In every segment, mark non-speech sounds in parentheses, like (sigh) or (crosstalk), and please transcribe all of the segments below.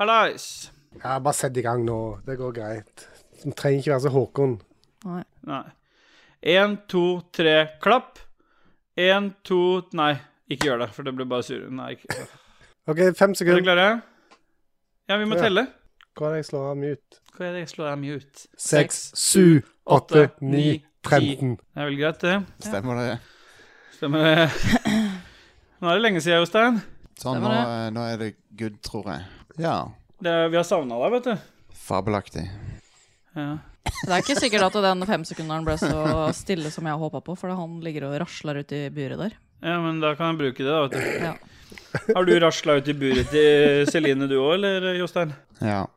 Hallais. Ja, bare sett i gang nå. Det går greit. Du trenger ikke være så Håkon. Nei. Nei. Én, to, tre, klapp. Én, to Nei, ikke gjør det, for det blir bare sur. Nei, ikke. OK, fem Er dere sekunder. klare? Ja, vi må Ja. telle. Hva er det jeg slår av mute? Hva er det jeg slår dem ut? Seks, sju, åtte, ni, ti. tretten. Det er vel greit, det. Stemmer det? Stemmer det. Nå er det lenge siden, Jostein. Sånn, nå, Stemmer eh, nå er det good, tror jeg. Ja. Det er- Vi har savna deg, vet du. Fabelaktig. Ja. Det er ikke sikkert at den femsekunderen ble så stille som jeg håpa på, for han ligger og rasler ute i buret der. ja, men da kan jeg bruke det, da. vet du. Ja. Har du rasla ut i buret til Celine, du òg, eller Jostein? Ja. (laughs)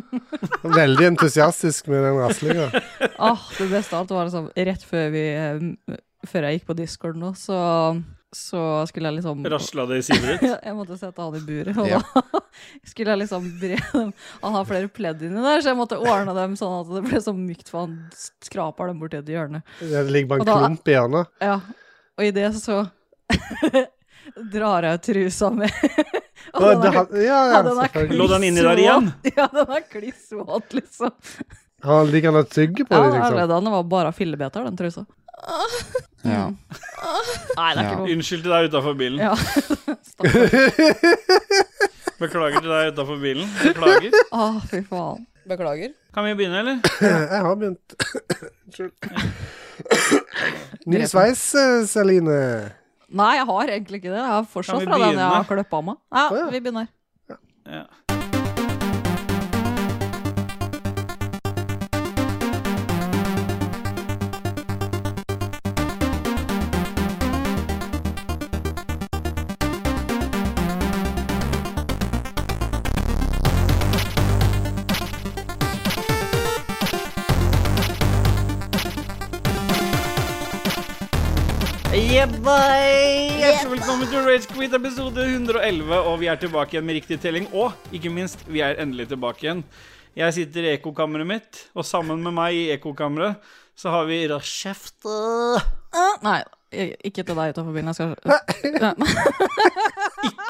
Mm. Veldig entusiastisk med den raslinga. Ah, det beste av alt var liksom rett før vi eh, Før jeg gikk på Discord nå, så, så skulle jeg liksom Rasla det i sivet ditt? (laughs) Ja, jeg måtte sette han i buret, og Ja. da (laughs) skulle jeg liksom bre dem Han har flere pledd inni der, så jeg måtte ordne dem sånn at det ble så mykt, for han skraper dem borti et hjørne. Det ligger bare Og en da- klump i hjørnet. Ja, og i det så (laughs) drar jeg ut trusa med. (laughs) Og Å, den det er- had- Ja, ja, ja, den er selvfølgelig. Lå den inni der igjen? klissvåt. (laughs) Ja, den er kliss våt, liksom. Han ligger han og tygger på Ja, det, liksom. arveledene var bare fillebeter, den trusa. Mm. ja. Nei, det er Ja. ikke godt. Unnskyld til deg utafor bilen. Ja. (laughs) Beklager til deg utafor bilen. Beklager. Å, fy faen. Beklager. Kan vi begynne, eller? (laughs) Jeg har begynt. Ny sveis, eh, Celine. Nei, jeg har egentlig ikke det. Jeg har Kan fortsatt vi fra den jeg begynne? har kløppa av meg. Ja, Å, ja. vi begynner. Ja. Yeah, boy! Hjertelig velkommen til Rage Quit episode 111, og vi er tilbake igjen med riktig telling. Og ikke minst, vi er endelig tilbake igjen. Jeg sitter i ekkokammeret mitt, og sammen med meg i ekkokammeret så har vi Rasheft Nei, i- ikke til deg utenfor bilen. Jeg skal Ja.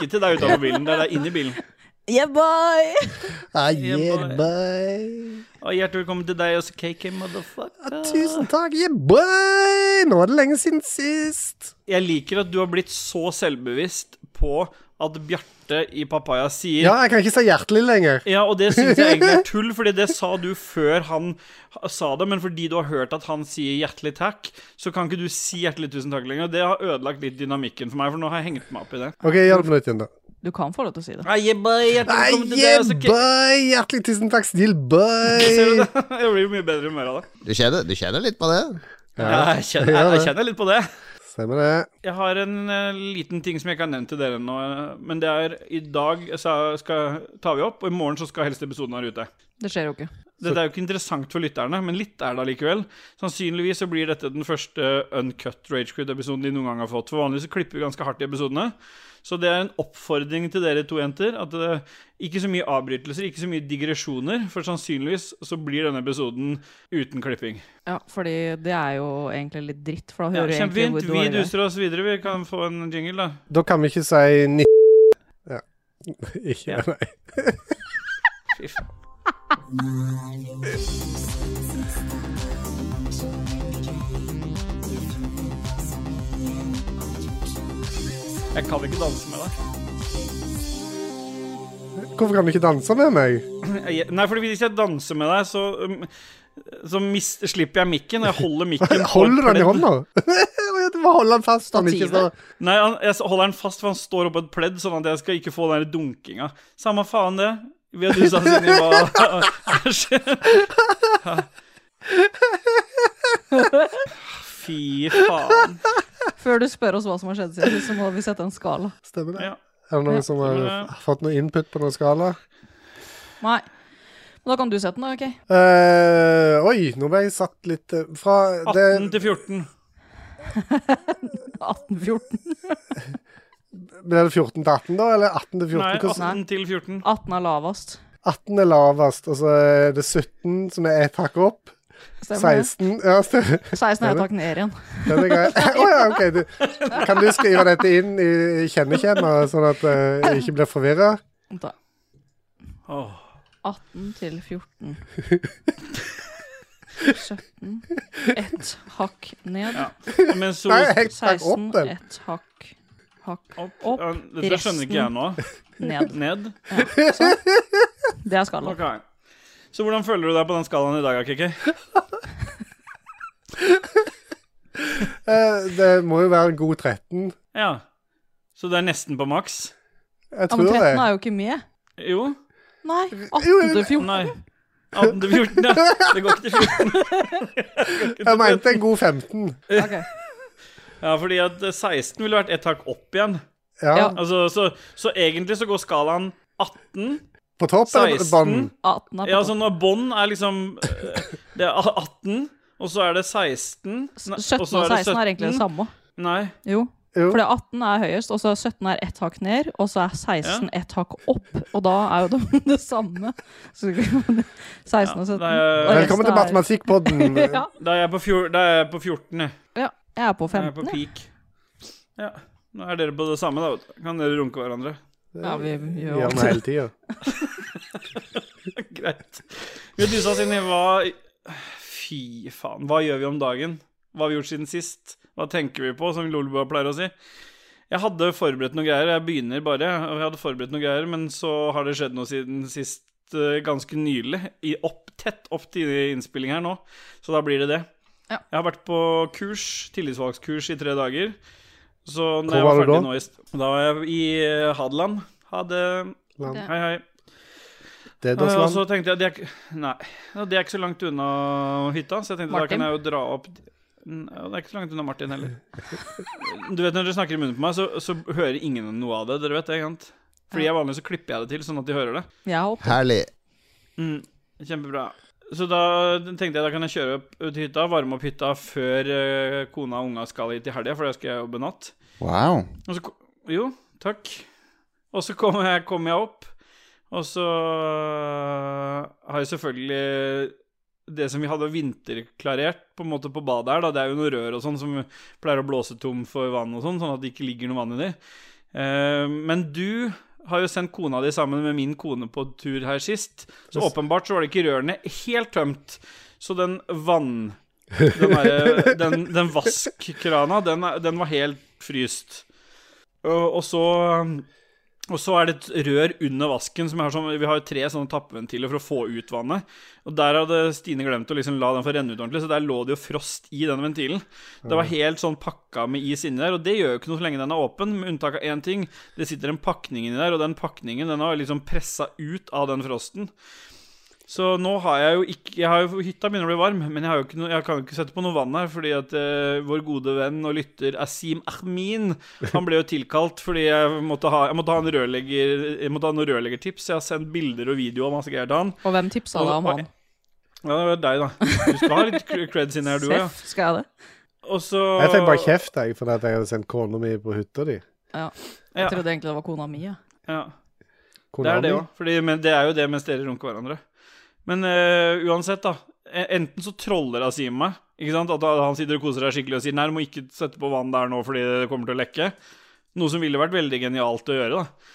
Ikke til deg utenfor bilen, det er deg inni bilen. (laughs) Yeah, boy! Ah, Yeah, yeah, boy. Og hjertelig velkommen til deg også, KK Motherfucker. Tusen takk, yeah, boy. Nå er det lenge siden sist. Jeg liker at du har blitt så selvbevisst på at Bjarte i Papaya sier Ja, jeg kan ikke si hjertelig lenger. Ja, og det syns jeg (laughs) egentlig er tull, fordi det sa du før han ha- sa det, men fordi du har hørt at han sier hjertelig takk, så kan ikke du si hjertelig tusen takk lenger. og Det har ødelagt litt dynamikken for meg, for nå har jeg hengt meg opp i det. OK, gjør det på nytt igjen, da. Du kan få lov til å si det. Nei, jebba, hjertelig Ah, velkommen til deg, yeah, altså, boy. Hjertelig tusen takk, snill K- Ser du boy. det? (laughs) Jeg blir jo mye bedre i humør av det. Du kjenner, du kjenner litt på det? Ja, jeg kjenner, jeg, jeg kjenner litt på det. Stemmer det. Jeg har en eh, liten ting som jeg ikke har nevnt til dere nå, eh, men det er i dag så skal, tar vi opp, og i morgen så skal helst episoden være ute. Det skjer jo ikke. Dette er jo ikke interessant for lytterne, men litt er det allikevel. Sannsynligvis så blir dette den første uncut Ragequid-episoden de noen gang har fått. For vanligvis så klipper vi ganske hardt i episodene. Så det er en oppfordring til dere to jenter. At det ikke så mye avbrytelser, ikke så mye digresjoner. For sannsynligvis så blir denne episoden uten klipping. Ja, fordi det er jo egentlig litt dritt, for da Ja, hører du egentlig Kjempefint. hvor Vi dårlig det er. duser oss videre. Vi kan få en jingle, da. Da kan vi ikke si ni... Ja. (laughs) Ikke, Ja. nei. Fy faen. Jeg kan ikke danse med deg. Hvorfor kan du ikke danse med meg? Jeg- Nei, fordi hvis jeg danser med deg, så, um, så mist, slipper jeg mikken. og Jeg holder mikken. på et Holder du den i pledd. hånda? (laughs) du må holde den fast. så Den ikke Stativet. står- Nei, han, jeg holder den fast, for han står oppå et pledd, sånn at jeg skal ikke få den der dunkinga. Samme faen, det. Vi har dusa oss inn i hva (laughs) Fy faen. Før du spør oss hva som har skjedd siden, sist, så må vi sette en skala. Stemmer det? Ja. Er det Ja, noen som har stemmer det. f- fått noe input på noen skala? Nei. Men da kan du sette den, da. ok? Eh, oi, nå ble jeg satt litt eh, fra 18 det, til 14. 18-14. Ble det 14 til 18, da? Eller 18 til 14? Nei, Hvordan- 18 til 14. 18 er lavest. 18 er lavest, og så er det 17 som er ett hakk opp. Stemmer det? 16 ja, (laughs) stemmer. 16 er et hakk ned igjen. Den er grei. Å ja, OK. Du, kan du skrive dette inn i kjennekjema, sånn at eh, jeg ikke blir forvirra? Vent da. Åh. 18 til 14. 17. Ett hakk ned. Ja. Og mens hun Nei, helt takk opp 16. den. Ett hakk. Hakk opp, Opp, ja, Dette skjønner ikke jeg nå. ned. Ned. (laughs) Det er skalaen. Ok. Så hvordan føler du deg på den skalaen i dag, Kikki? Eh, det må jo være en god 13. Ja. Så du er nesten på maks? Jeg Ja, men tror 13 det. er jo ikke med. Jo. Nei. 18 Jo, jo, til 14. Nei. 18 til 14, ja. Det går ikke til (laughs) 14. Jeg mente en god 15. Ok. Ja, fordi at eh, 16 ville vært ett hakk opp igjen. Ja, Ja. Altså, så, så egentlig så går skalaen 18, På toppen av 16. bånden. 18 er Ja, sånn- så på topp. når bånd er liksom eh, Det er 18, og så er det 16 nei, 17 og 16 er egentlig det 17. samme. Nei. Jo. Jo. For det er 18 er høyest, og så er 17 er ett hakk ned, og så er 16 ett hakk opp. Og da er jo det (laughs) det samme. Så (laughs) 16 og 17. det er- og Velkommen til resten er- matematikkpodden. (laughs) Ja. Da er jeg på, fjor, da er jeg på 14, jeg. ja. Jeg er på Da er jeg 15, på jeg. peak. Ja. Nå er dere på det samme, da. vet du. Kan dere runke hverandre? Ja, vi Det gjør gjør vi hele tida. Greit. Vi har dyssa oss inn i hva Fy faen, hva gjør vi om dagen? Hva har vi gjort siden sist? Hva tenker vi på, som Lolbua pleier å si? Jeg hadde forberedt noen greier, jeg begynner bare. og Jeg hadde forberedt noen greier, Men så har det skjedd noe siden sist, eh, ganske nylig. I opp, tett opp til innspilling her nå, så da blir det det. Ja. Jeg har vært på kurs, tillitsvalgskurs i tre dager. Så Hvor når jeg var var du ferdig da? nå i st- Da var jeg i eh, Hadeland. Ha det. Land. Hei, hei. Ja, og Dedersland. så tenkte jeg det er, ikke- Nei, ja, det er ikke så langt unna hytta, så jeg tenkte da Martin? kan jeg jo dra opp Ja, Det er ikke så langt unna Martin heller. Du vet Når dere snakker i munnen på meg, så, så hører ingen noe av det. Dere vet det, ikke sant? Fordi jeg vanligvis så klipper jeg det til, sånn at de hører det. Jeg er opp. Herlig. Mm, kjempebra. Så da tenkte jeg da kan jeg kjøre opp til hytta, varme opp hytta før eh, kona og unga skal hit i helga, for da skal jeg jobbe natt. Wow. Og så, ko- jo, takk. Og så kom jeg, kom jeg opp, og så eh, har jeg selvfølgelig det som vi hadde vinterklarert på en måte på badet her, da, det er jo noe rør og sånn som pleier å blåse tom for vann og sånn, sånn at det ikke ligger noe vann i det. Eh, men du har jo sendt kona di sammen med min kone på tur her sist, så åpenbart så var det ikke rørene helt tømt. Så den vann... Den, derre- den, den vaskkrana, den, er- den var helt fryst. Og, og så og så er det et rør under vasken. Som jeg har sånn, vi har jo tre sånne tappeventiler for å få ut vannet. Og der hadde Stine glemt å liksom la den få renne ut ordentlig, så der lå det jo frost i den ventilen. Det var helt sånn pakka med is inni der, og det gjør jo ikke noe så lenge den er åpen, med unntak av én ting. Det sitter en pakning inni der, og den pakningen den har liksom pressa ut av den frosten. Så nå har jeg jo ikke jeg har jo, Hytta begynner å bli varm, men jeg, har jo ikke noe, jeg kan jo ikke sette på noe vann her, fordi at eh, vår gode venn og lytter Asim Ahmin Han ble jo tilkalt fordi jeg måtte ha, jeg måtte ha en rørlegger Jeg måtte ha noen rørleggertips. Jeg har sendt bilder og video og masse greier til han. Og hvem tipsa deg om Og- han? Ja, det var deg, da. Du skal ha litt cre- creds inni her, du òg. Ja. Seff, skal jeg det? Og så Jeg fikk bare kjeft jeg, for at jeg hadde sendt kona mi på hytta di. Ja. Ja. Jeg trodde egentlig det var kona mi. Ja. Ja. Det Kona er det mi. òg. fordi- Men det er jo det mens dere runker hverandre. Men eh, uansett, da. e- Enten så troller Asim meg. Ikke sant? At han sitter og koser seg skikkelig og sier Nei, du må ikke sette på vann der nå fordi det kommer til å lekke. Noe som ville vært veldig genialt å gjøre, da.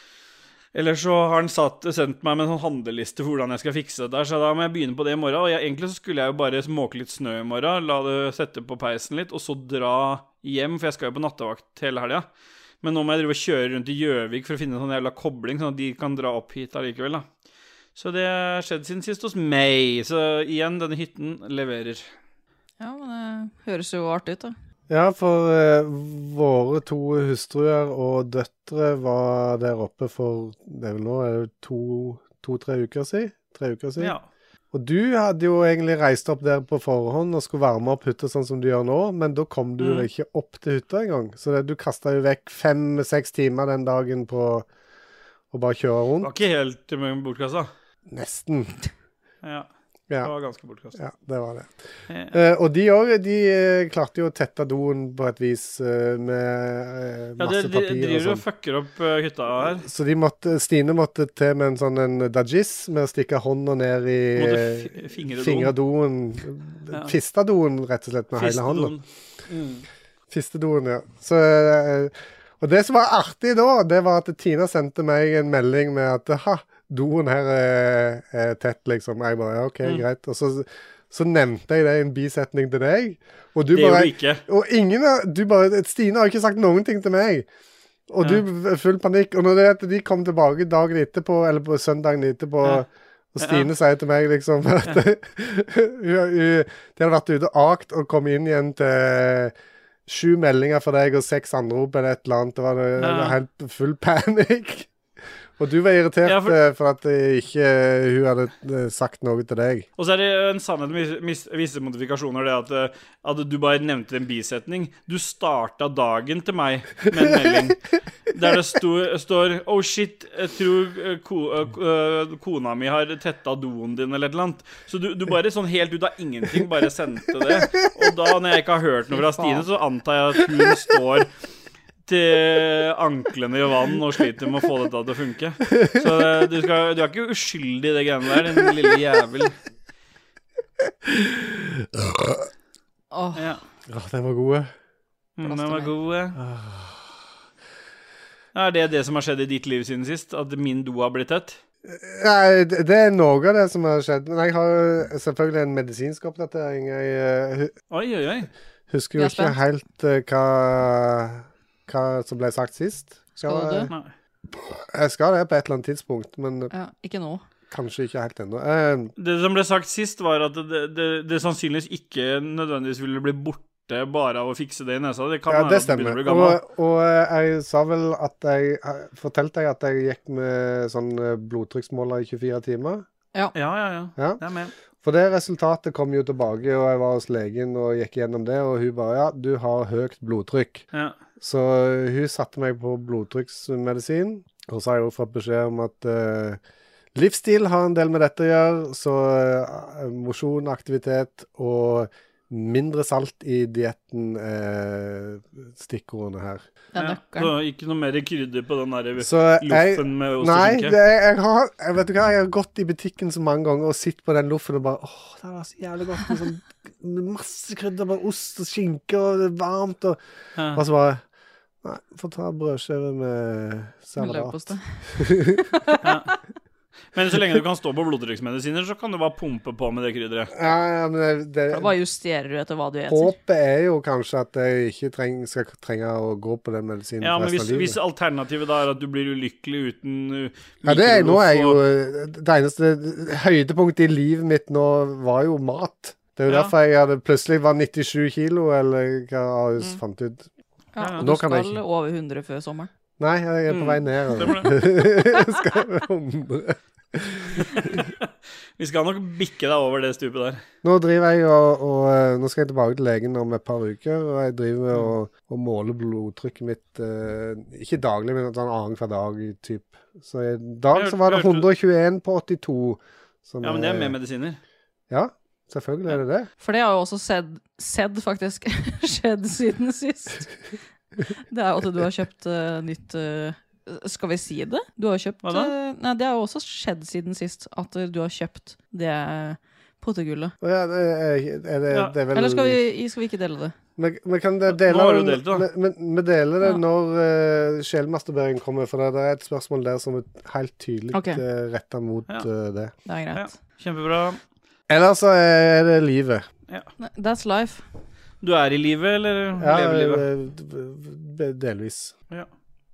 Eller så har han satt, sendt meg med en sånn handleliste for hvordan jeg skal fikse dette. her, Så da må jeg begynne på det i morgen. Og jeg, egentlig så skulle jeg jo bare måke litt snø i morgen, la det sette på peisen litt, og så dra hjem, for jeg skal jo på nattevakt hele helga. Men nå må jeg drive og kjøre rundt i Gjøvik for å finne en sånn jævla kobling, sånn at de kan dra opp hit allikevel, da. Så det har skjedd siden sist hos meg. Så igjen, denne hytten leverer. ja, men det høres jo artig ut, da. Ja, for eh, våre to hustruer og døtre var der oppe for det er vel nå er det to- to-tre uker siden. Tre uker siden. Ja. Og du hadde jo egentlig reist opp der på forhånd og skulle varme opp hytta sånn som du gjør nå, men da kom du jo Mhm. ikke opp til hytta engang. Så det, du kasta jo vekk fem-seks timer den dagen på å bare kjøre Det rundt. var ikke helt eh, bortkasta. Nesten. Ja, det Ja. var ganske bortkasta. Ja, det var det. Ja. Eh, og de òg, de eh, klarte jo å tette doen på et vis eh, med eh, Ja, masse det de, papir og driver og sånn. fucker opp eh, hytta her. Så de måtte, Stine måtte til med en sånn en dajis, med å stikke hånda ned i Måtte eh, fi- fingre doen. fingerdoen. Ja. Fistadoen, rett og slett, med hele hånda. Fistedoen. Mm. Fistedoen, ja. Så, eh, og det som var artig da, det var at Tina sendte meg en melding med at ha, doen her er, er tett, liksom. Jeg bare ja, OK, Mm. greit. Og så, så nevnte jeg det i en bisetning til deg, og du Det gjorde bare du ikke. Og ingen av Du bare Stine har ikke sagt noen ting til meg. Ja. Og du er full panikk. Og når det er at de kom tilbake dagen etterpå, eller på søndagen etterpå Ja. Og Ja. Stine sier til meg liksom at (laughs) hun, hun, de hadde vært ute og akt og kom inn igjen til sju meldinger fra deg og seks anrop eller et eller annet. Det var, det, Ja. var helt full panikk. Og du var irritert Ja, for- eh, for at eh, ikke hun hadde eh, sagt noe til deg. Og så er det en sannhet med mis- visse modifikasjoner, det at, eh, at du bare nevnte en bisetning. Du starta dagen til meg med en melding der det sto, står Oh shit, jeg tror eh, ko, eh, ko- eh, kona mi har tetta doen din, eller et eller annet. Så du, du bare sånn helt ut av ingenting bare sendte det. Og da, når jeg ikke har hørt noe fra Stine, så antar jeg at hun står til anklene i vann og sliter med å få dette til å funke. Så eh, du, skal, du er ikke uskyldig i det greiene der, din lille jævel. Åh, Ja. Ja, den var god. Mm, den Plaster var meg. god. ja. Er det det som har skjedd i ditt liv siden sist? At min do har blitt tett? Nei, det det er noe av det som har skjedd. Men jeg har jo selvfølgelig en medisinsk oppdatering. Jeg eh, hu- Oi, oi, oi. husker jo Jeg er ikke spent. helt eh, hva, hva som ble sagt sist. Skal du dø? Nei. Jeg skal det på et eller annet tidspunkt, men ja, ikke nå. kanskje ikke helt ennå. Eh, Det som ble sagt sist, var at det, det, det sannsynligvis ikke nødvendigvis ville bli borte bare av å fikse det i nesa. Det kan ja, være det at du begynner å stemmer. bli Og, gammel. og eh, jeg sa vel at jeg eh, Fortalte jeg at jeg gikk med sånn eh, blodtrykksmåler i 24 timer? Ja, ja, ja. Ja. Det er med. For det resultatet kom jo tilbake, og jeg var hos legen og gikk gjennom det, og hun bare Ja, du har høyt blodtrykk. Ja. Så eh, hun satte meg på blodtrykksmedisin, og så har jeg også fått beskjed om at eh, livsstil har en del med dette å gjøre, så eh, mosjon, aktivitet og mindre salt i dietten er stikkordene her. Det er Ja. Så nøkkelen. ikke noe mer krydder på den der Så jeg loffen med ost og Nei, det, skinke? jeg, har, jeg vet du hva, jeg har gått i butikken så mange ganger og sittet på den loffen og bare åh, det var så jævlig godt med sånn med masse krydder, bare ost og skinke og det er varmt og Ja. og så bare Nei, få ta brødskive med salat. Løvpostei. Men så lenge du kan stå på blodtrykksmedisiner, så kan du bare pumpe på med det krydderet. Ja, ja, men det, det, Da bare justerer du etter hva du spiser. håpet er jo kanskje at jeg ikke treng, skal trenge å gå på den medisinen Ja, men resten hvis, av livet. hvis alternativet da er at du blir ulykkelig uten uh, ja, det er, nå er mikroloff jo eh, og- Det eneste høydepunktet i livet mitt nå var jo mat. Det er jo Ja. derfor jeg hadde, plutselig var 97 kilo, eller hva jeg fant ut. Ja, Ja, og nå du kan jeg skal ikke. over 100 før sommeren. Nei, jeg er Mm, på vei ned. altså. Stemmer (laughs) det. Jeg skal være (laughs) (laughs) 100. Vi skal nok bikke deg over det stupet der. Nå driver jeg og, og eh, Nå skal jeg tilbake til legen om et par uker, og jeg driver og, og måler blodtrykket mitt eh, Ikke daglig, men sånn annenhver dag. Typ. Så i dag Jeg så var det hørte- 121 på 82. Som Ja, men det er med medisiner. Ja, selvfølgelig er det det. For det har jo også sett, sett faktisk (laughs) skjedd siden sist. Det er jo at du har kjøpt eh, nytt eh, Skal vi si det? Du har kjøpt Hva da? eh, Nei, det har jo også skjedd siden sist at eh, du har kjøpt det eh, potegullet. Og ja, det er, er det, Ja, det er vel Eller skal vi, skal vi ikke dele det? Men, men kan det Nå dele har du delt det, da. men- Men vi deler det Ja. når eh, sjelmasturbering kommer, for det, det er et spørsmål der som er helt tydelig Ok. eh, retta mot Ja. eh, det. Det er Ja, greit. Kjempebra. Ellers så er det livet. Nei, That's life. Du er i livet, eller Ja, lever livet? eh, eh, delvis. Ja.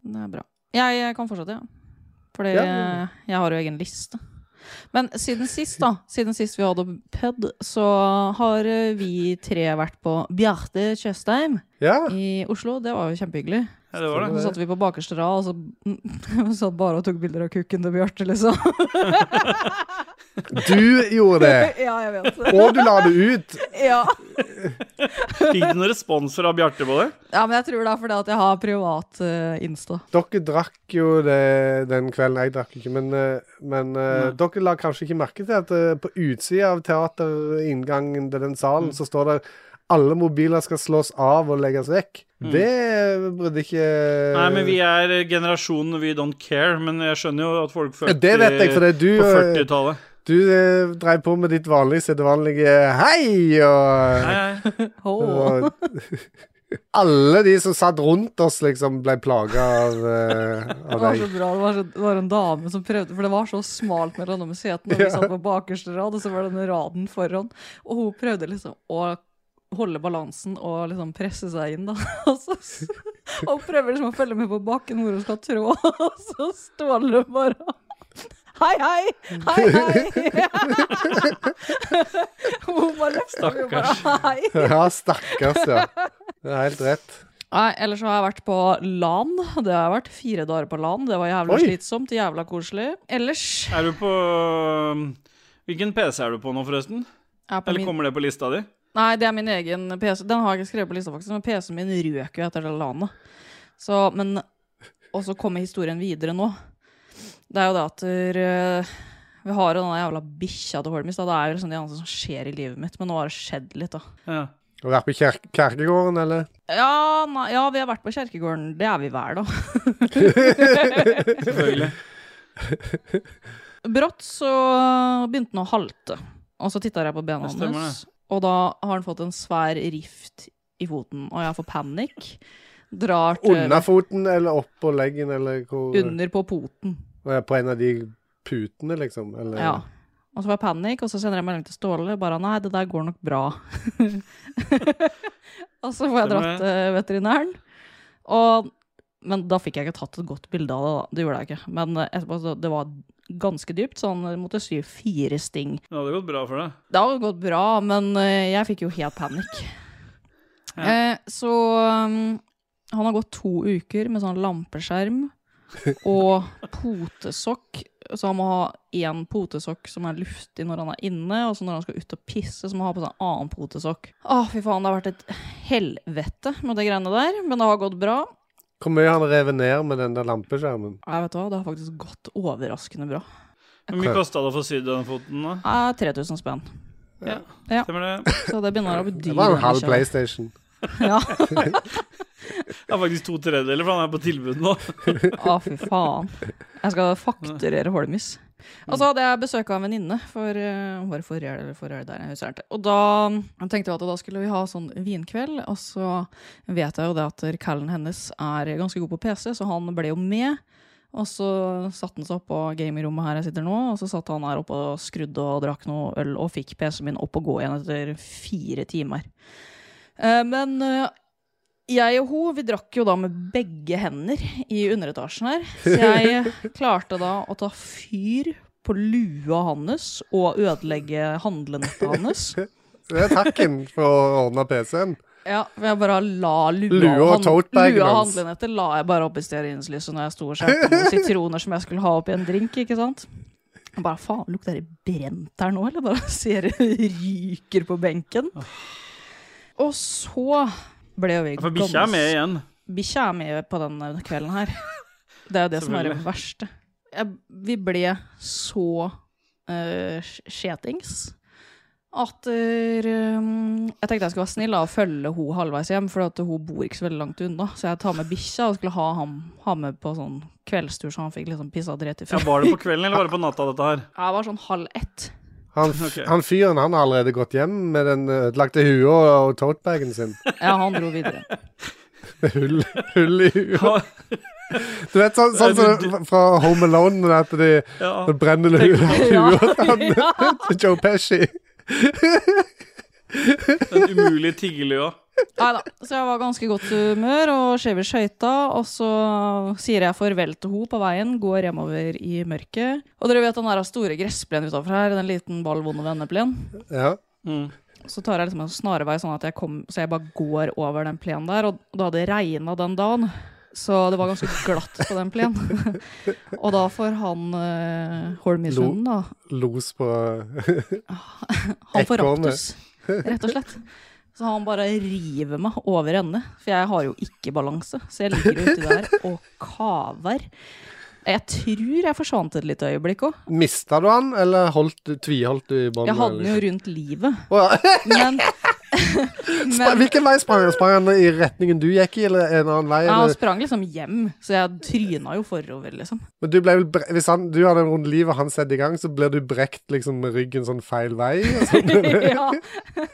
Det er bra. Jeg, jeg kan fortsette, ja. Fordi Ja. eh, jeg har jo egen liste. Men siden sist, da. Siden sist vi hadde PED, så har eh, vi tre vært på Bjarte Tjøstheim Ja. i Oslo. Det var jo kjempehyggelig. ja, det var Stemmer (laughs) det. Så det. satt vi på bakerste rad og så (laughs) satt bare og tok bilder av kukken til Bjarte, liksom. Du gjorde det, (laughs) ja, jeg vet det. og du la det ut. Ja. Fikk du noen respons fra Bjarte på det? ja, men jeg tror det er fordi at jeg har privat eh, Insta. Dere drakk jo det den kvelden. Jeg drakk ikke, men, eh, men eh, Nei. dere la kanskje ikke merke til at eh, på utsida av teaterinngangen til den Mm. salen, så står det alle mobiler skal slås av og legges vekk. Det brydde ikke Mm. Nei, men vi er generasjonen we don't care, men jeg skjønner jo at folk følte Det vet jeg, for det er du på eh, 40-tallet. Du eh, dreiv på med ditt vanlige, sedvanlige hei og (laughs) Nei, nei. Oh. og Alle de som satt rundt oss, liksom ble plaga av, eh, av Det var (laughs) deg. så bra. Det var, så, det var en dame som prøvde, for det var så smalt mellom de setene. Og vi satt på bakerste rad, og så var det den raden foran. Og hun prøvde liksom å holde balansen og liksom presse seg inn, da. (laughs) Og så s- og hun prøver liksom å følge med på bakken hvor hun skal trå, (laughs) og så Ståle bare Hei, hei! Hei, (laughs) hei! Hun bare løfter meg og bare Hei! Ja, stakkars, ja. Det er helt rett. Nei, ellers så har jeg vært på LAN. Det har jeg vært fire dager på LAN. Det var jævla Oi. slitsomt, jævla koselig. Ellers Er du på um, Hvilken PC er du på nå, forresten? jeg er på Eller min... kommer det på lista di? Nei, det er min egen PC. Den har jeg ikke skrevet på lista, faktisk, men PC-en min røk jo etter det LAN-et. Så, men Og så kommer historien videre nå. Det er jo det at eh, vi har jo den jævla bikkja til Holmis. Da. Det er jo liksom det eneste som skjer i livet mitt, men nå har det skjedd litt, da. Ja. Har du vært på kjer kjerkegården, eller? Ja, nei, ja, vi har vært på kjerkegården. Det er vi hver, da. Selvfølgelig. Brått så begynte han å halte, og så titta jeg på bena Det stemmer, hans. Og da har han fått en svær rift i foten, og jeg får panikk. Drar til Under foten eller oppå leggen, eller hvor? under på poten. Eh, På en av de putene, liksom? Eller? Ja. Og så får jeg panikk, og så sender jeg melding til Ståle. Bare 'nei, det der går nok bra'. (laughs) og så får jeg Stemmer dratt til veterinæren. Og, men da fikk jeg ikke tatt et godt bilde av det, da. Det gjorde jeg ikke. Men eh, etterpå, så det var ganske dypt, så han måtte sy fire sting. Det hadde gått bra for deg. Det har gått bra, men eh, jeg fikk jo helt panikk. Ja. Eh, så um, han har gått to uker med sånn (laughs) lampeskjerm og potesokk. Så han må ha én potesokk som er luftig når han er inne, og så når han skal ut og pisse, så må han ha på seg en annen potesokk. Å, fy faen, det har vært et helvete med de greiene der, men det har gått bra. Hvor mye har han revet ned med den der lampeskjermen? Nei, vet du hva, det har faktisk gått overraskende bra. Hvor mye kosta det å få sydd den foten, da? Eh, 3000 spenn. Stemmer det? Så det begynner å bli dyrt. Det var en halv PlayStation. Ja. Det er faktisk to tredjedeler, for han er på tilbud nå. Å, fy faen. Jeg skal fakturere Holmis. Og så hadde jeg besøk av en venninne for eh, var det forrige eller forrige der, jeg husker ikke. Og da mm, tenkte vi at da skulle vi ha sånn vinkveld, og så vet jeg jo det at callen hennes er ganske god på PC, så han ble jo med. Og så satte han seg opp på gamingrommet her jeg sitter nå, og så satt han her oppe og skrudde og drakk noe øl og fikk PC-en min opp og gå igjen etter fire timer. Eh, Men eh, jeg og hun, vi drakk jo da med begge hender i underetasjen (laughs) her. Så jeg klarte da å ta fyr på lua hans og ødelegge (laughs) handlenettet hans. Det er takken for å ordne PC-en. Ja, for jeg bare la lua Lua og hand- totebagen Lua og hans. handlenettet la jeg bare opp i stearinlyset når jeg sto og skjærte (laughs) noen sitroner som jeg skulle ha oppi en drink, ikke sant. Jeg bare faen, lukter det brent her nå, eller bare (laughs) ser det ryker på benken. Og så ble jo vi For bikkja er med gans- igjen. Bikkja er med på denne kvelden (laughs) her. Det er jo det som er det Selvfølgelig. verste. Jeg, vi ble så eh, sj- skjetings at eh, um, Jeg tenkte jeg skulle være snill da, og følge hun halvveis hjem, for at hun bor ikke så veldig langt unna. Så jeg tar med bikkja og skulle ha ham ha med på sånn kveldstur, så han fikk liksom pissa dritt i Ja, fred. var det på kvelden, eller var det på natta, dette (laughs) her? Jeg var sånn halv ett. Han, f- Ok. han fyren han har allerede gått hjem med den ødelagte hua og totebagen sin. (laughs) Ja, han dro videre. Med hull, hull i hua. Ja, Du vet sånn, sånn som fra Home Alone, men at de ja. de brenner hua (laughs) (laughs) Ja. til Joe Pesci. Den umulige tiggerlua. Nei da. Så jeg var i ganske godt humør og skjev i skøyta. Og så sier jeg farvel til henne på veien, går hjemover i mørket. Og dere vet den der store gressplenen utafor her, den liten ball vonde venneplen. Ja. Mm. Så tar jeg liksom en snarvei, sånn at jeg kom, så jeg bare går over den plenen der. Og da hadde det regna den dagen, så det var ganske glatt på den plenen. (laughs) og da får han uh, Holmisund, da. Los på Han får Ekornet. raptus, rett og slett. Så han bare river meg over ende, for jeg har jo ikke balanse. Så jeg ligger uti der og kaver. Jeg tror jeg forsvant et lite øyeblikk òg. Mista du han, eller holdt, du- tviholdt du i båndet? (laughs) Jeg hadde den jo rundt livet. Men (laughs) Spra- Hvilken vei sprang han? Sprang han i retningen du gikk i, eller en annen vei? Ja, han Eller? sprang liksom hjem, så jeg tryna jo forover, liksom. Men du ble vel bre Hvis han, du hadde en rund liv og han satte i gang, så ble du brekt liksom med ryggen sånn feil vei? og sånn. ja. Nei,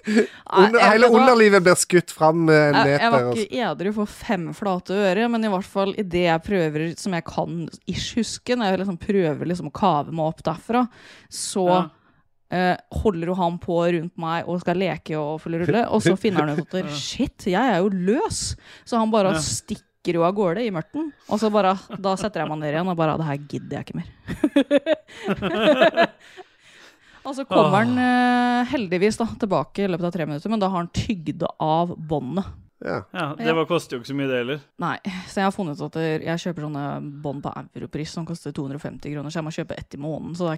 Under, hele jeg- vet du hva? underlivet blir skutt fram med en Jeg, jeg meter. altså. var og så- ikke edru for fem flate øre, men i hvert fall i det jeg prøver, som jeg kan ish huske, når jeg liksom prøver liksom å kave meg opp derfra, så Ja. eh, holder jo han på rundt meg og skal leke og fulle rulle, og så finner han ut at (laughs) shit, jeg er jo løs! Så han bare Ja. stikker jo av gårde i mørten, og så bare, da setter jeg meg ned igjen og bare Det her gidder jeg ikke mer. (laughs) Og så kommer han eh, heldigvis da, tilbake i løpet av tre minutter, men da har han tygd av båndet. Ja. Ja, Ja. Det var, koster jo ikke så mye, det heller. Nei, så jeg har funnet ut at det- jeg kjøper sånne bånd på europris som koster 250 kroner, så jeg må kjøpe ett i måneden, så det er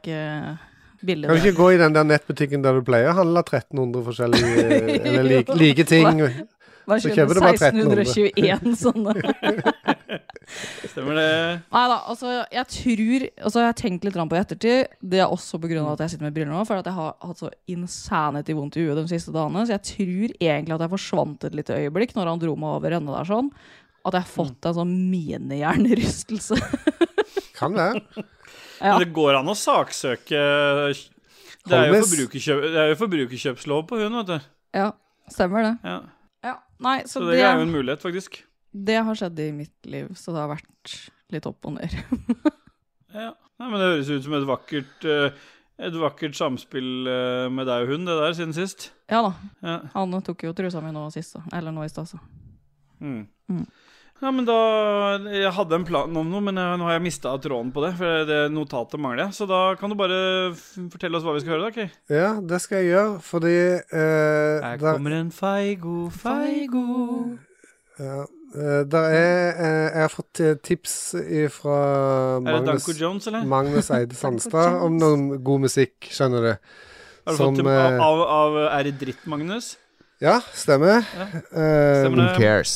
ikke billig. Kan du det. ikke gå i den der nettbutikken der du pleier å handle 1300 (laughs) forskjellige Eller like, like ting? Bare så kjøpe kjøper du bare 1300. 1621 sånne. Stemmer det? Nei da, altså jeg tror Altså jeg har tenkt litt grann på i ettertid, det er også på grunn av at jeg sitter med briller nå, for at jeg har hatt så insanity vondt i huet de siste dagene, så jeg tror egentlig at jeg forsvant et lite øyeblikk når han dro meg over ende der sånn, at jeg har fått en sånn minihjernerystelse. Kan være. Ja. Men det går an å saksøke eh, Det er jo, Holmes. forbrukerkjøp, det er jo forbrukerkjøpslov på hund, vet du. ja, stemmer det. Ja. Ja, nei, så, Så det er jo en mulighet, faktisk. Det har skjedd i mitt liv, så det har vært litt opp og ned. (laughs) Ja. Nei, men det høres ut som et vakkert eh, et vakkert samspill eh, med deg og hund, det der, siden sist. Ja da, Ja. han tok jo trusa mi nå sist, da. Eller nå i stad, så. Mm. Mm. Ja, men da Jeg hadde en plan om noe, men eh, nå har jeg mista tråden på det. For det notatet mangler jeg. Så da kan du bare f fortelle oss hva vi skal høre, da. Okay? Ja, det skal jeg gjøre, fordi eh, Her der- kommer en feigo, feigo. Ja. eh, der er, eh, jeg har fått eh, tips fra Er det Magnus, Danko Jones, eller? Magnus (laughs) Eide Sandstad om noen god musikk, skjønner du. Har du som, fått til, eh, av, av, av Er det dritt, Magnus? Ja, stemmer. Ja. Eh, Stemmer Who cares?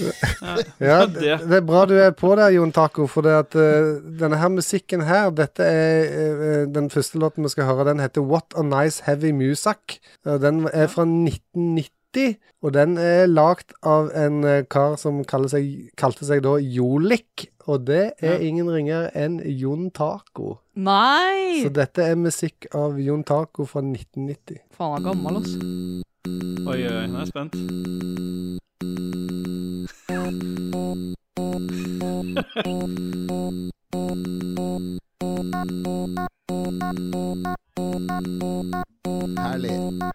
ja, (laughs) Ja, det, det. det er bra du er på der, Jon Taco, for det at eh, denne her musikken her Dette er eh, den første låten vi skal høre. Den heter What a Nice Heavy Music. Eh, Den er fra 1990, og den er lagd av en eh, kar som kaller seg, kalte seg da Jolik. Og det er Ja. ingen ringere enn Jon Taco. Nei! Så dette er musikk av Jon Taco fra 1990. Faen, han er gammel, altså. Oi, oi, nå er jeg spent. Herlig.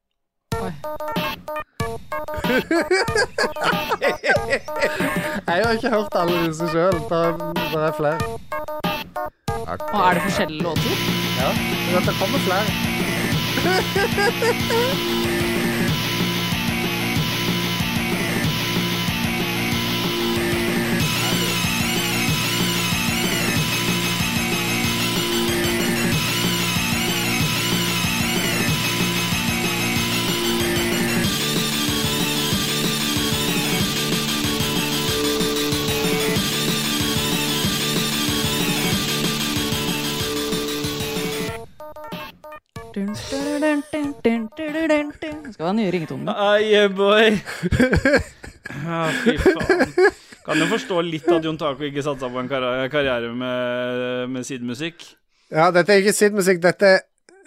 Jeg har ikke hørt alle disse sjøl. Det er flere. Og er det forskjellige låter? Ja, det kommer flere. Dun, dun, dun, dun, dun, dun, dun, dun. Det skal være nye ringetoner. Ai, yeah, boy. Ja, fy faen. Kan jo forstå litt at Jon Taco ikke satsa på en karri- karriere med, med sidemusikk. Ja, dette er ikke SID-musikk, dette,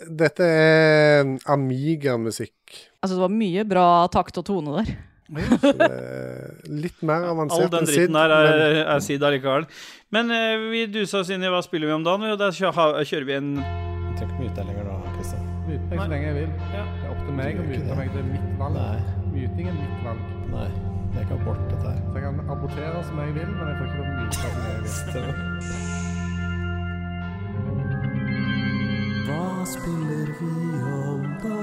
dette er Amiga-musikk. Altså, det var mye bra takt og tone der. Så (laughs) det er Litt mer All avansert den enn SID. dritten her er, men- er sid allikevel. Men eh, vi dusa oss inn i hva spiller vi om dagen, og der kjø- ha- kjører vi en Jeg trenger ikke mute deg lenger nå, Kristian. Mute meg så lenge jeg vil. Ja. Det er opp til meg å mute meg. Det er mitt valg. Nei. Muting er mitt valg. Nei, det er ikke abort, dette her. Så jeg kan abortere som jeg vil, men jeg får ikke lov å mute som jeg vil. Hva spiller vi om da?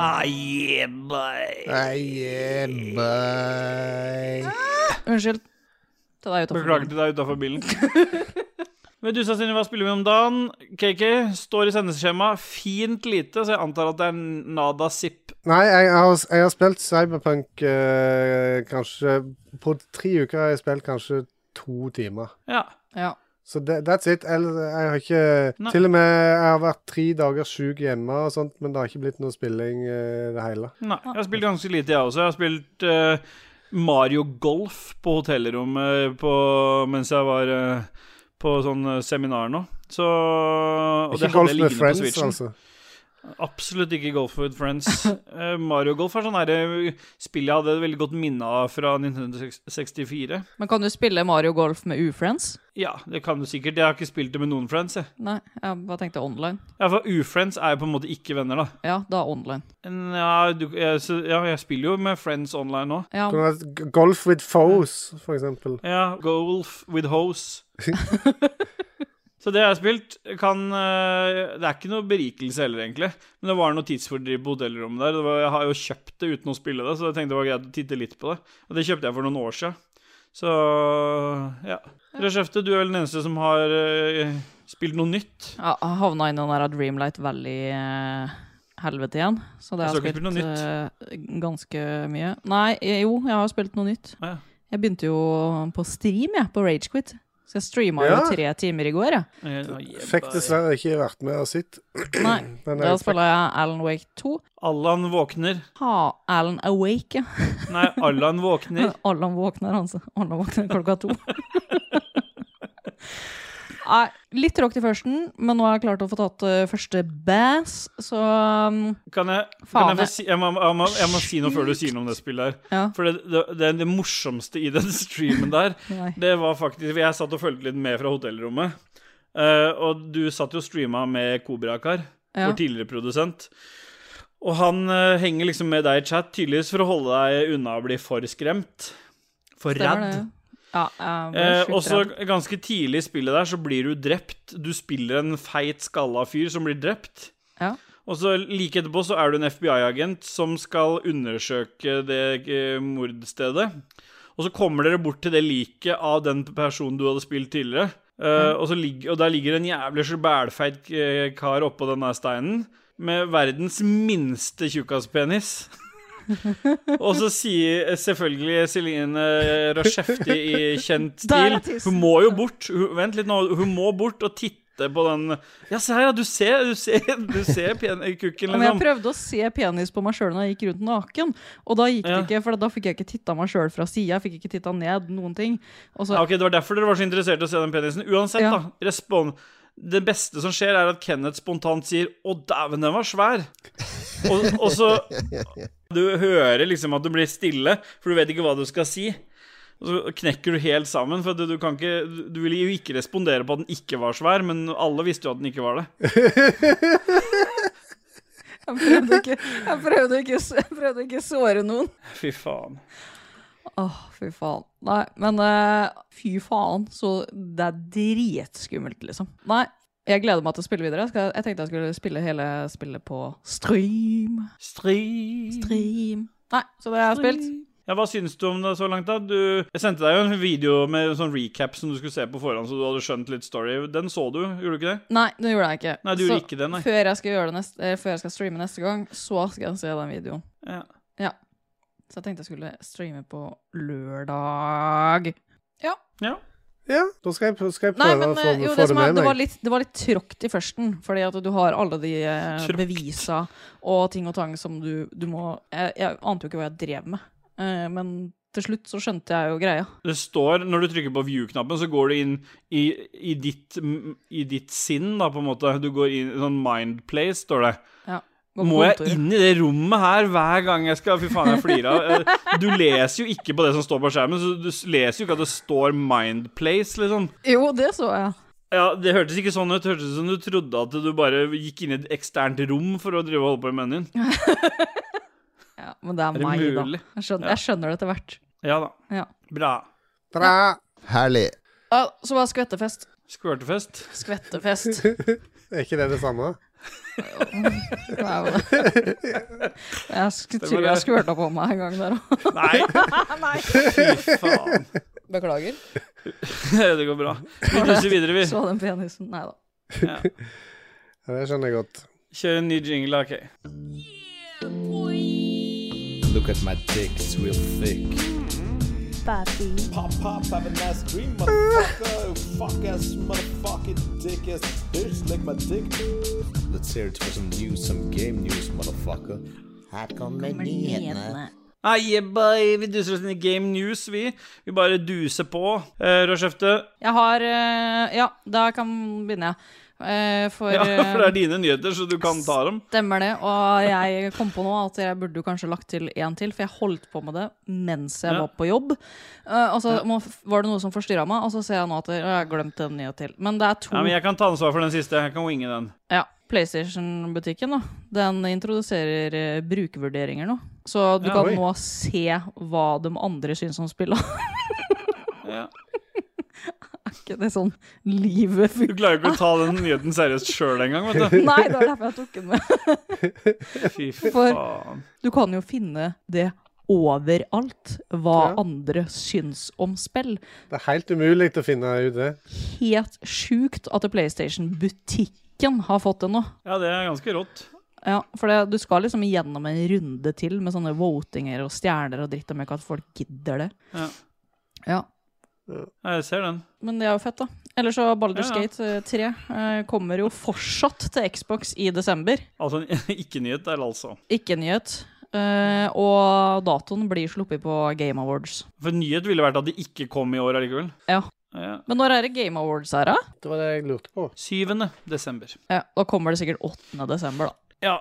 Ah, yeah, boy. Nei, bye. Unnskyld. Ta deg utenfor. Beklager til deg utafor bilen. (laughs) Medusa sine Hva spiller vi om dagen? KK står i sendeskjema fint lite, så jeg antar at det er nada zip. Nei, jeg har, jeg har spilt Cyberpunk eh, kanskje På tre uker har jeg spilt kanskje to timer. Ja. Ja. Så det- that's it. Ellers, jeg har ikke Nei. Til og med jeg har vært tre dager sjuk hjemme og sånt, men det har ikke blitt noe spilling eh, i det hele. Nei, jeg har spilt ganske lite, jeg også. Jeg har spilt eh, Mario Golf på hotellrommet på, mens jeg var eh, på sånn eh, seminar nå. Så og det Ikke hadde golf jeg med liggende på friends, Switchen. altså. Absolutt ikke Golf with (laughs) Friends. Eh, Mario Golf er sånn her, eh, spill jeg hadde et veldig godt minne av fra 1964. Men kan du spille Mario Golf med ufriends? Ja, det kan du sikkert. Jeg har ikke spilt det med noen friends. Jeg. Nei, jeg bare tenkte online. Ja, for ufriends er jo på en måte ikke venner, da. Ja, da online. Ja, du, jeg, så, ja, jeg spiller jo med friends online nå. Ja, Kunne vært g- Golf with foes, for eksempel. Ja, golf with hose. (laughs) Så det jeg har spilt, kan eh, Det er ikke noe berikelse heller, egentlig. Men det var noe tidsfordriv på hotellrommet der. Det var, jeg har jo kjøpt det uten å spille det, så jeg tenkte det var greit å titte litt på det. Og det kjøpte jeg for noen år siden. Så ja. Reshefte, du er vel den eneste som har eh, spilt noe nytt. Ja, jeg havna i den der Dreamlight Valley-helvete igjen. Så det Jeg har så ikke jeg spilt spilt noe eh, ganske mye. Nei, eh, jo, jeg har spilt noe nytt. Ja. Jeg begynte jo på stream, jeg, på Ragequit. Så jeg streama Ja. jo tre timer i går, jeg. Eh, å, jebba. Fikk dessverre ikke vært med og sitt. Nei, (clears throat) Men da jeg fikk spiller jeg Alan Wake 2. Allan våkner. Ha, Alan Awake, ja. Nei, Allan (laughs) våkner. Allan våkner, altså. Allan våkner klokka to. (laughs) Nei, litt tråkk til førsten, men nå har jeg klart å få tatt eh, første bass, så um, Kan jeg, kan Faen, jeg, få si, jeg, må, jeg, må, jeg må si noe før du sier noe om det spillet her. ja. For det, det, det, det morsomste i den (laughs) streamen der, Nei. det var faktisk Jeg satt og fulgte litt med fra hotellrommet. Eh, og du satt jo og streama med Kobrakar, Ja. vår tidligere produsent. Og han eh, henger liksom med deg i chat, tydeligvis for å holde deg unna å bli for skremt. For Stemmer det. redd. Ja, jeg ble Eh, sjukt og så redd. ganske tidlig i spillet der så blir du drept. Du spiller en feit, skalla fyr som blir drept. Ja. Og så like etterpå så er du en FBI-agent som skal undersøke det eh, mordstedet. Og så kommer dere bort til det liket av den personen du hadde spilt tidligere. Eh, og, så ligg- og der ligger det en jævlig så bælfeit eh, kar oppå den der steinen med verdens minste (laughs) tjukkaspenis. og så sier eh, selvfølgelig Celine Rashefti i kjent (laughs) Der er stil tissen. Hun må jo bort. Hun, vent litt nå. Hun må bort og titte på den Ja, se her, ja. Du ser, du ser, du ser pen kukken, Men jeg liksom. prøvde å se penis på meg sjøl når jeg gikk rundt naken. Og da gikk det Ja. ikke, for da fikk jeg ikke titta meg sjøl fra sida. Jeg fikk ikke titta ned noen ting. Og så, Ja, ok, Det var derfor dere var så interessert i å se den penisen. Uansett, Ja. da. Respon. Det beste som skjer, er at Kenneth spontant sier 'Å, dæven, den var svær'. Og, og så Du hører liksom at du blir stille, for du vet ikke hva du skal si. Og så knekker du helt sammen, for at du, du kan ikke du- Du ville jo ikke respondere på at den ikke var svær, men alle visste jo at den ikke var det. (laughs) jeg, prøvde ikke, jeg, prøvde ikke, jeg prøvde ikke såre noen. Fy faen. Åh, fy faen. Nei, men eh, fy faen, så det er dritskummelt, liksom. Nei, jeg gleder meg til å spille videre. Jeg, skal, jeg tenkte jeg skulle spille hele spillet på stream. Stri... Stream. Nei, så det har jeg spilt. Ja, Hva syns du om det så langt, da? Du, jeg sendte deg jo en video med en sånn recap som du skulle se på forhånd, så du hadde skjønt litt story. Den så du, gjorde du ikke det? Nei, det gjorde jeg ikke. Nei, du så, gjorde ikke det, nei. Før jeg skal, gjøre det neste, eh, før jeg skal streame neste gang, så skal jeg se den videoen. Ja. Så jeg tenkte jeg skulle streame på lørdag. Ja, da skal jeg, skal jeg Nei, prøve å men få, eh, jo, få det, det som er, med det, var meg. litt, det var litt tråkt i førsten, fordi at du har alle de eh, Tråkt. bevisa og ting og tang som du, du må jeg, jeg ante jo ikke hva jeg drev med, Eh, men til slutt så skjønte jeg jo greia. Det står, Når du trykker på view-knappen, så går du inn i, i, ditt, i ditt sinn, da, på en måte. Du går inn i sånn mind place, står det. Gå på Må jeg kontoret. inn i det rommet her hver gang jeg skal Fy faen, jeg flirer av. Eh, Du leser jo ikke på det som står på skjermen, så du s- leser jo ikke at det står mind place, liksom. Jo, det så jeg. Ja, Det hørtes ikke sånn ut. Det hørtes ut som du trodde at du bare gikk inn i et eksternt rom for å drive og holde på med menyen din. Ja, men det er, Er det meg, mulig? da. Jeg skjønner, jeg skjønner det etter hvert. Ja da. Ja. Bra. Bra! Herlig. Ja, så var det skvettefest. (laughs) Skvørtefest. (laughs) Skvettefest. Er ikke det det samme? Det (laughs) er jo det. Jeg sk- Stemmer tror det. jeg skvørta på meg en gang der òg. Nei, Nei. fy faen. Beklager. (laughs) Det går bra. Vi duser videre, vi. Så den penisen. Nei da. Ja. Ja, det skjønner jeg godt. Kjør en ny jingle, OK. Look at my dick, it's real thick. Pop, pop, have a nice (laughs) dream, motherfucker. Fuck ass, motherfucking dick ass bitch. Lick my dick. Let's hear it for some news, some game news, motherfucker. Her kommer nyhetene. Ah, yeah, boy. Vi duser oss inn i Game News, vi. Vi bare duser på. Eh, Rødskjefte, Jeg har eh, Ja, da kan begynne jeg. Eh, For, ja, eh, for det er dine nyheter, så du kan ta dem. Stemmer det. Og jeg kom på nå at jeg burde jo kanskje lagt til én til, for jeg holdt på med det mens jeg Ja. var på jobb. Eh, og så må- var det noe som forstyrra meg, og så ser jeg nå at jeg jeg har glemt en nyhet til. Men det er to. Ja, men Jeg kan ta ansvar for den siste. Jeg kan winge den. Ja, PlayStation-butikken da, den introduserer eh, brukervurderinger nå. Så du Ja, kan oi. nå se hva de andre syns om spillet. Ja. Ikke det sånn livet Du (laughs) funker. klarer jo ikke å ta den nyheten seriøst sjøl engang, vet du. Nei, det var derfor jeg tok den med. Fy For- faen. Du kan jo finne det overalt, hva Ja. andre syns om spill. Det er helt umulig å finne ut det. Helt sjukt at PlayStation-butikken har fått det nå. Ja, det er ganske rått. Ja, for det, du skal liksom gjennom en runde til med sånne votinger og stjerner og dritt og møkk, at folk gidder det. Ja. ja. Ja, jeg ser den. Men det er jo fett, da. Eller så Baldur's Ja, ja. Gate eh, 3 eh, kommer jo fortsatt til Xbox i desember. Altså (laughs) en ikke-nyhet der, altså. Ikke nyhet. Eh, og datoen blir sluppet på Game Awards. For nyhet ville vært at de ikke kom i år allikevel. Ja. Ja. Men når er det Game Awards her, da? Det var det jeg lurte på. 7. desember. Ja, da kommer det sikkert 8. desember, da. Ja.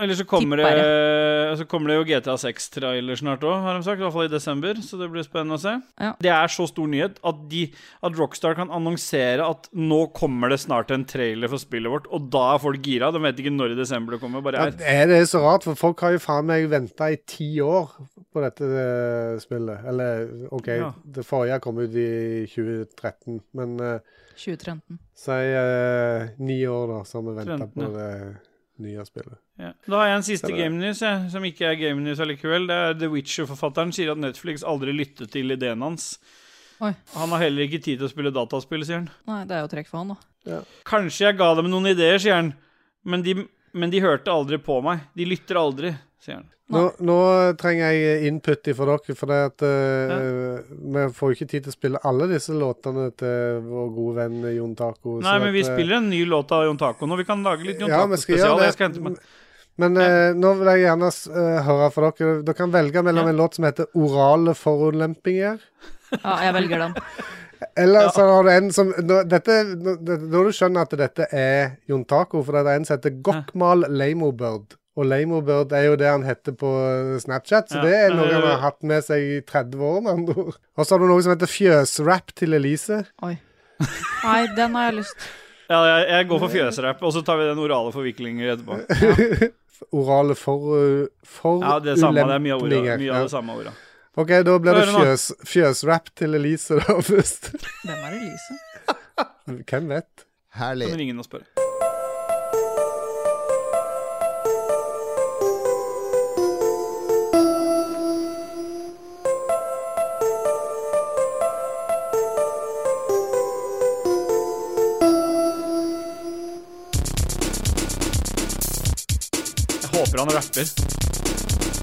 Eller så kommer, Tipper det, så kommer det jo GTA 6-trailer snart òg, har de sagt. I hvert fall i desember, så det blir spennende å se. Ja. Det er så stor nyhet at, de, at Rockstar kan annonsere at nå kommer det snart en trailer for spillet vårt, og da er folk gira. De vet ikke når i desember det kommer, bare Ja, er. er det så rart? For folk har jo faen meg venta i ti år på dette eh, spillet. Eller OK, Ja. det forrige kom ut i 2013, men eh, 2013. si eh, ni år, da, så har vi venta 13, på ja. det nye spillet. Ja. Da har jeg en siste Det er det. game news, jeg, som ikke er game news allikevel. Det er The Witcher-forfatteren sier at Netflix aldri lyttet til ideen hans. Oi. Han har heller ikke tid til å spille dataspill, sier han. Nei, det er jo trekk for han, da. Kanskje jeg ga dem noen ideer, sier han, men de, men de hørte aldri på meg. De lytter aldri, sier han. Nå, nå trenger jeg input fra dere, for det at eh, vi får jo ikke tid til å spille alle disse låtene til vår gode venn Jon Taco. eh, Nei, men vi spiller spiller en ny låt av Jon Taco nå. Vi kan lage litt Jon Ja, vi skal gjøre Taco-spesial. det. Jeg skal hente meg Men eh, nå vil jeg gjerne eh, høre fra dere. Dere kan velge mellom Ja. en låt som heter 'Orale forulempinger'. Ja, jeg velger den. Eller så har du en som nå, dette, nå, det- Når du skjønner at dette er Jon Taco, for det er en som heter Gokmal Lamobird. Og Lamobird er jo det han heter på Snapchat, så Ja, det er men noe det- han har hatt med seg i 30 år, med andre ord. Og så har du noe som heter Fjøsrap til Elise. Oi. Nei, den har jeg lyst Ja, jeg, jeg går for fjøsrapp, og så tar vi den orale forviklinger etterpå. (laughs) Orale for, for Ja, det er samme, det er mye av orda. ulemplinger. Mye av det samme orda. OK, da blir det Hør nå. fjøs, fjøsrap til Elise da (laughs) først. Hvem er Elise? Hvem vet? Herlig. Kan ringe den og spørre. Jeg håper han rapper.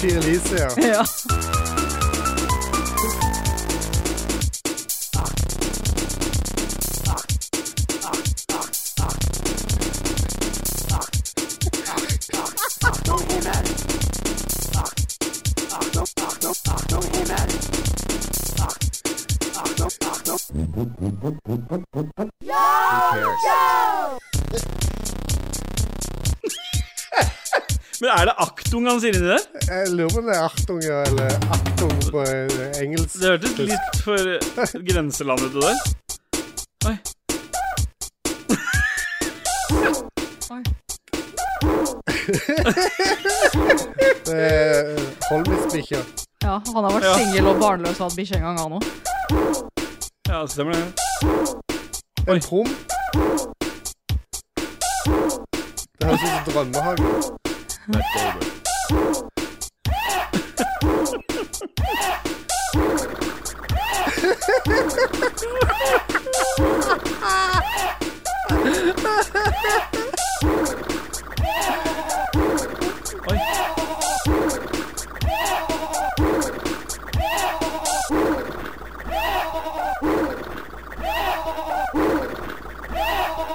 Til Elise, ja. Ja. Men er det aktung han sier inni der? Jeg lurer på om det er Artunger eller Artung på eh, engelsk. Det hørtes litt for grenselandet ut det der. Oi. Oi. Det er, eh, Holmesbikkja. Ja, han har vært Ja. singel og barnløs og hatt bikkje en gang, han òg. Ja, stemmer det. Oi. En prom. Det høres ut som drømmehage. Oi.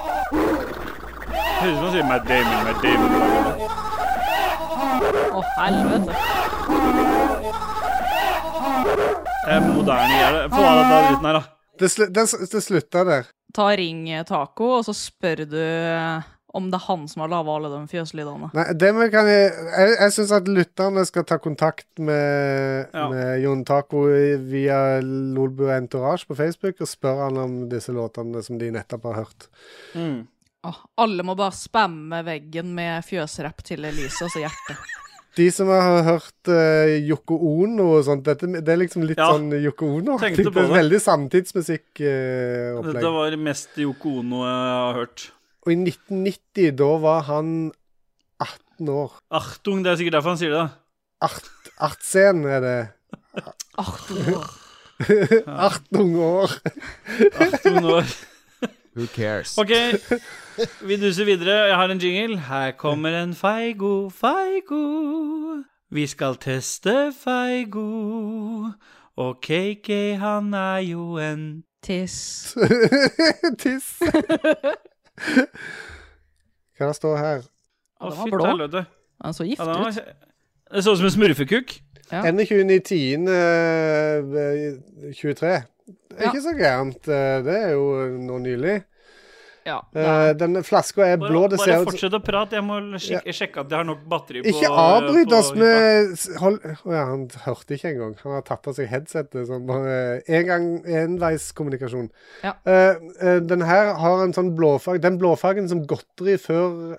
Høres ut som han sier Matt Damon, Matt Damon. Å, helvete. Det er moderne greier. det. Få av deg den dritten her, da. Det, slu, den s- det slutta der. Ta ring eh, taco, og så spør du eh, om det er han som har laga alle de fjøslydene. Nei, det vi kan Jeg, jeg, jeg syns at lytterne skal ta kontakt med, Ja. med Jon Taco i- via Lolbu Entourage på Facebook og spørre han om disse låtene som de nettopp har hørt. Mm. Åh, alle må bare spamme veggen med fjøsrapp til Elise, altså hjertet. De som har hørt uh, Yoko Ono og sånt, dette, det er liksom litt Ja. sånn Yoko Ono. Tenkte Det på er det. veldig eh, samtidsmusikkopplegg. Dette var mest Yoko Ono jeg har hørt. og i 1990, da var han 18 år. Achtung, Ah, det er sikkert derfor han sier det. Art, artsen er det. Åh, 18 år. (laughs) da. Achtung nå. Who cares? (laughs) Ok, vi duser videre. Jeg har en jingle. Her kommer en feigo, feigo. Vi skal teste feigo. Og KK, han er jo en (laughs) Tiss. Tiss. Hva det står her? Å, den var fytti blå. helvete. Han så Ja, gift den var- ut. Det så ut som en smurfekuk. Ja. 21.10.23. eh, Det er Ja. ikke så gærent. eh, Det er jo nå nylig. Ja. Eh, Denne flaska er blå. Bare, Det ser bare ut som fortsett å prate. Jeg må sjek sjekke at jeg har nok batteri på Ikke avbryt på oss hytta. med s- hold, Å ja, Han hørte ikke engang. Han har tatt av seg headsetet. Sånn bare en gang enveiskommunikasjon. Ja. Eh, eh, den her har en sånn blåfarge Den blåfargen som godteri før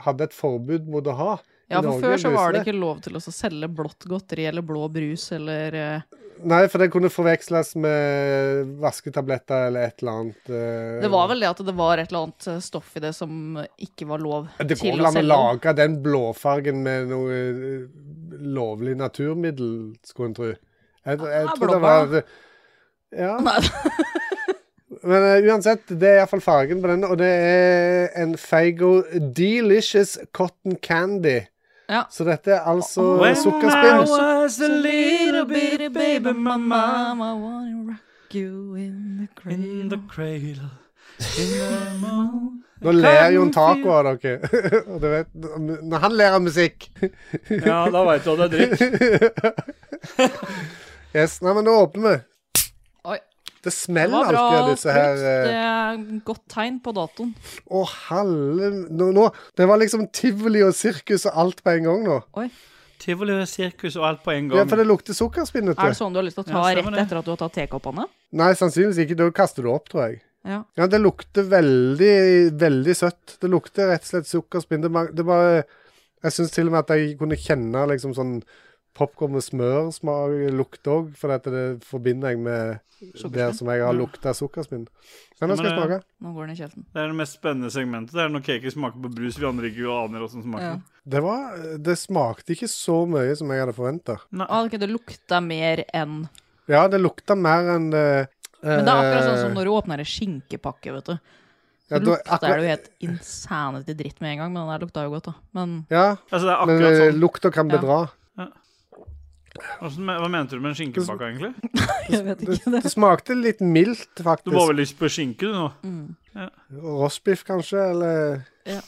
hadde et forbud mot å ha. i Ja, for Norge, før så var det lusene. ikke lov til å selge blått godteri eller blå brus eller eh, Nei, for det kunne forveksles med vasketabletter eller et eller annet. eh, Det var vel det at det var et eller annet eh, stoff i det som ikke var lov Det går til vel å an å selge. den. lage den blåfargen med noe eh, lovlig naturmiddel, skulle en tro. Jeg, jeg Ja, tror det blåbær, var (laughs) Ja. Nei. Men eh, uansett, det er iallfall fargen på denne, og det er en Feigo Delicious Cotton Candy. Ja. Så dette er altså When I sukkerspinn. was a little bitty baby mama I wanna rock you in the in the cradle. cradle in the moon. Nå ler Jon Taco av dere. (laughs) og du vet, når han ler av musikk Ja, da veit du at det er dritt. Yes, nei, men nå åpner vi. Oi. Det Det smeller var bra alltid av brukt. disse her eh, Det er et godt tegn på datoen. Å, halve nå, nå, Det var liksom tivoli og sirkus og alt på en gang nå. Tivoli og sirkus og alt på en Ja, gang. For det lukter sukkerspinn, vet Er det du. sånn du har lyst til å ta Ja, stemmer rett det. etter at du har tatt tekoppene? Nei, sannsynligvis ikke. Da kaster du opp, tror jeg. Ja. Ja, Det lukter veldig, veldig søtt. Det lukter rett og slett sukkerspinn. Det, ma- det bare Jeg syns til og med at jeg kunne kjenne liksom sånn popkorn med smørsmak lukt òg, for dette det forbinder jeg med det Sukkerspinn. som jeg har lukta sukkerspinn. Men nå skal jeg Stemmer smake. Nå går den i kjeften. Det er det mest spennende segmentet. Det er når cake smaker på brus. Vi andre ikke aner åssen Ja. smaker. Det, var, det smakte ikke så mye som jeg hadde forventa. Nei, Ah, ok, det lukta mer enn Ja, det lukta mer enn eh, Men det er akkurat sånn som når du åpner en skinkepakke, vet du. ja, Så da- lukter akkurat- det jo helt insanity dritt med en gang, men den der lukta jo godt, da. Men (laughs) Ja, altså det er men akkurat eh, sånn. lukta kan Ja. bedra. Hvordan- Hva mente du med en skinkepakke, egentlig? jeg vet Det, ikke det. det smakte litt mildt, Du får faktisk. vel lyst på skinke, du nå? Rostbiff, kanskje, eller Ja.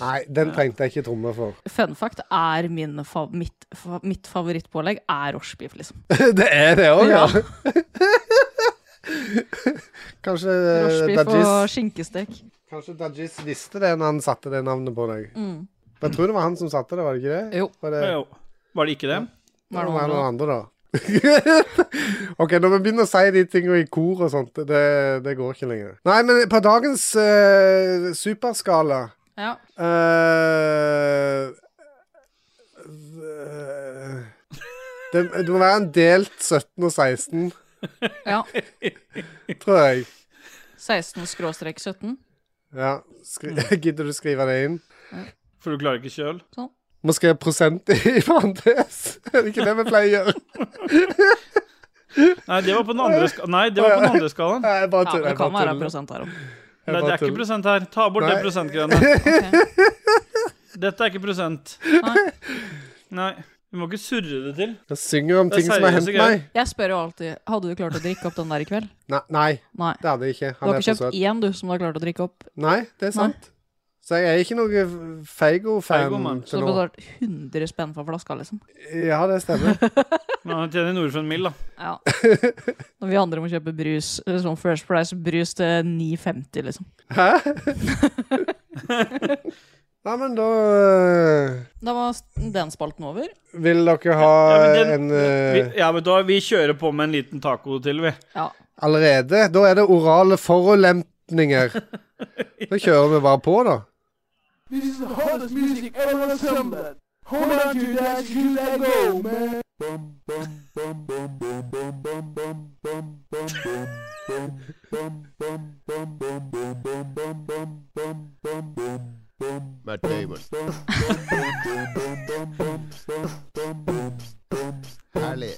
Nei, den trengte jeg ikke (laughs) tromme for. (laughs) Fun fact er min fa mitt, fa mitt favorittpålegg er rochebiff, liksom. det er det òg, ja. (laughs) Ja. kanskje eh, Rochebiff og Dajis, skinkestek. kanskje Dajis visste det når han satte det navnet på deg. Men jeg tror det var han som satte det, var det ikke det? Mm. Jo. Var det, Ja, jo. Var det ikke det? Hva er det Hva er andre, noen andre, da? (laughs) OK, når vi begynner å si de tingene i kor og sånt, det, det går ikke lenger. Nei, men på dagens eh, superskala Ja. eh, øh, det, det må være en delt 17 og 16, Ja. tror jeg. 16 skråstrek 17. Ja. Skri Mm. (laughs) Gidder du skrive det inn? For du klarer ikke sjøl? Må skrive prosent i (laughs) parentes. Er det ikke det vi pleier å gjøre? Nei, det var på den andre, ska Nei, det var på den andre skalaen. Nei, jeg bare Ja, tuller. men det jeg kan bare være tuller. prosent her òg. Nei, det er ikke prosent her. Ta bort det Nei. prosentgreiene. Ok. Dette er ikke prosent. Nei. Nei. Vi må ikke surre det til. Jeg synger om Det er ting som har seriøse hendt greier. meg. Jeg spør jo alltid Hadde du klart å drikke opp den der i kveld. Nei, nei, Nei. det hadde jeg ikke. Du Han har er ikke for kjøpt søt. én du som du har klart å drikke opp. Nei, det er sant. Så jeg er ikke noe Feigo, Feigo-fan mann. Så til du nå. betalte 100 spenn for flaska, liksom. Ja, det (laughs) stemmer. Men han tjener Norfund Mill, da. (laughs) Ja. Når vi andre må kjøpe brus, eh, sånn First Price-brus til 9,50, liksom. Hæ? Nei, men da øh, Da var s- den spalten over. Vil dere ha Ja, men den- en øh, vi, ja, vet du hva, vi kjører på med en liten taco til, vi. Ja. Allerede? Da er det orale forulempninger. Da kjører vi bare på, da. This is the hardest music ever assembled. Hold on to that, you let go, man. Bum, bum, bum, bum, bum, bum, bum, bum, bum, bum, bum, bum, bum, bum, bum, bum, bum, bum, bum, bum, bum, bum, bum, bum. Matt Damon. Herlig.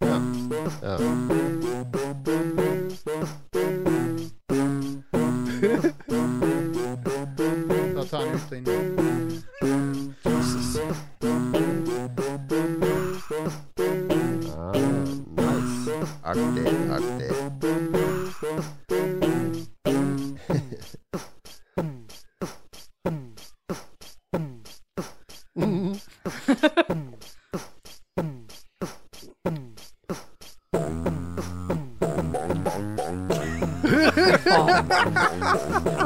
Ja. Ja. Da tar han ut og inn. Jesus. Ah, nice. Artig, artig. Faen.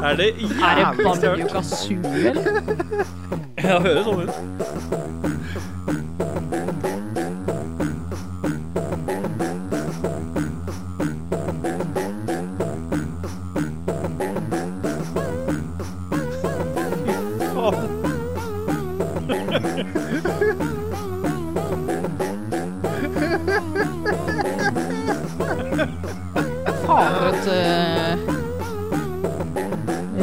Er det Er det jævlig størt? Banjuka sur, (laughs) eller? Ja, det høres sånn ut. Fy faen. Faen, for et uh,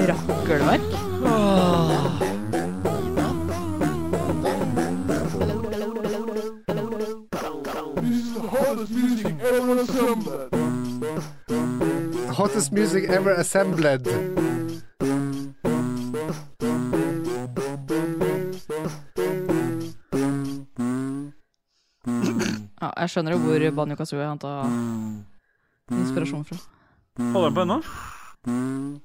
rakkelverk. Hottest music ever assembled. Ja, jeg skjønner jo hvor Banjo Kazooie henta inspirasjon fra. Holder den på ennå?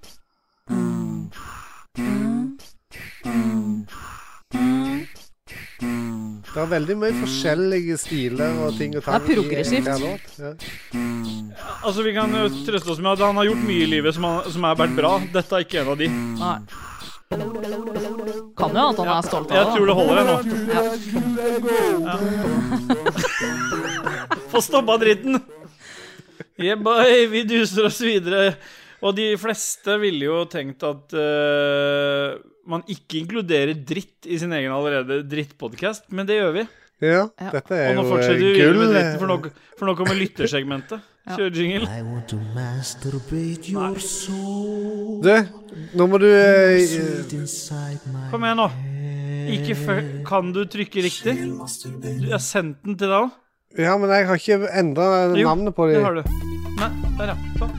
Det er veldig mye forskjellige stiler og ting og tang. Det er i progressivt. hver låt. Ja. Altså, Vi kan jo trøste oss med at han har gjort mye i livet som, han, som har vært bra. Dette er ikke en av de. Nei. Kan jo at han er stolt Jeg av tror det. det holder, jeg nå. Ja. Få stoppa dritten! Yeah, boy, vi duser oss videre. Og de fleste ville jo tenkt at eh, man ikke inkluderer dritt i sin egen allerede drittpodkast, men det gjør vi. ja, Ja. dette Og er nå jo eh, fortsetter vi videre gull. med eh. dritten, for nå, for nå kommer lyttersegmentet. Ja. Kjør jingle. I want to masturbate your soul Du, nå må du eh, eh, inside my Kom igjen, nå. Ikke fø... Kan du trykke riktig? Du, jeg har sendt den til deg òg. Ja, men jeg har ikke endra Jo, navnet på Det dem. har du. Nei, der, ja. Sånn.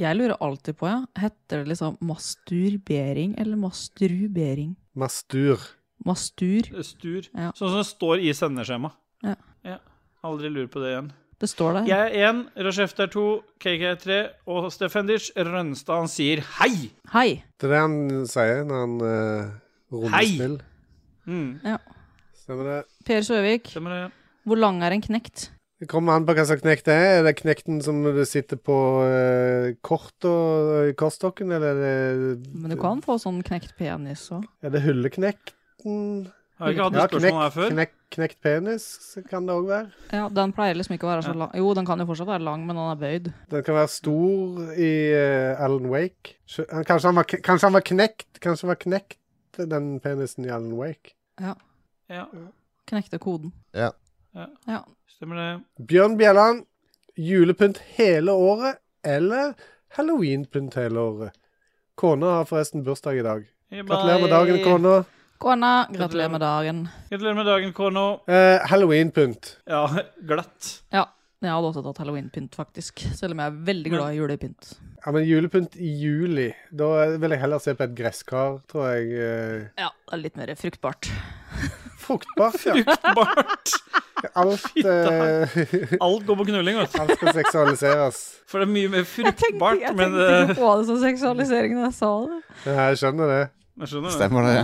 Jeg lurer alltid på, ja. Heter det liksom masturbering eller mastrubering? Mastur. Mastur. Stur. Ja. Sånn som det står i sendeskjema. Ja. Aldri lurer på det igjen. Det står der. Jeg er én, Rasheft er to, KK er tre, og Stefendic Rønstad han sier hei! Hei! Det er det han sier når han uh, Hei! rundespill. Mm. Ja. Stemmer det. Per Søvik, Stemmer det. hvor lang er en knekt? Det kommer an på hva slags knekt det er. Er det knekten som du sitter på eh, kort og uh, korsstokken, eller er det, Men du kan få sånn knekt penis òg. er det hulleknekt? Kinecten Har vi ikke hatt Ja, et spørsmål her knekt, før? knekt, knekt penis kan det òg være. Ja, Den pleier liksom ikke å være så Ja. lang. Jo, den kan jo fortsatt være lang, men den er bøyd. Den kan være stor i eh, Alan Wake. Sjø- han- Kanskje han var, k- kanskje han var knekt? Kanskje han var knekt, den penisen i Alan Wake? Ja, Knekte koden. Ja. Ja. Ja. stemmer det. Bjørn Bjelland, julepynt hele året eller halloweenpynt hele året? Kona har forresten bursdag i dag. Gratulerer med dagen, kona. Kona, gratulerer med dagen. Gratulerer med dagen, Kono. Eh, halloweenpynt. Ja, glatt. Ja. Jeg hadde også tatt halloweenpynt, faktisk. Selv om jeg er veldig glad i julepynt. Ja, men julepynt i juli. Da vil jeg heller se på et gresskar, tror jeg. eh, Ja, det er litt mer fruktbart. Fruktbart, (laughs) ja. Fruktbart. Alt, eh, Alt går på knulling, vet du. alt skal seksualiseres. For det er mye mer fruktbart, men eh, på det som seksualisering da jeg sa det. Ja, jeg skjønner det. Jeg skjønner det. Stemmer det?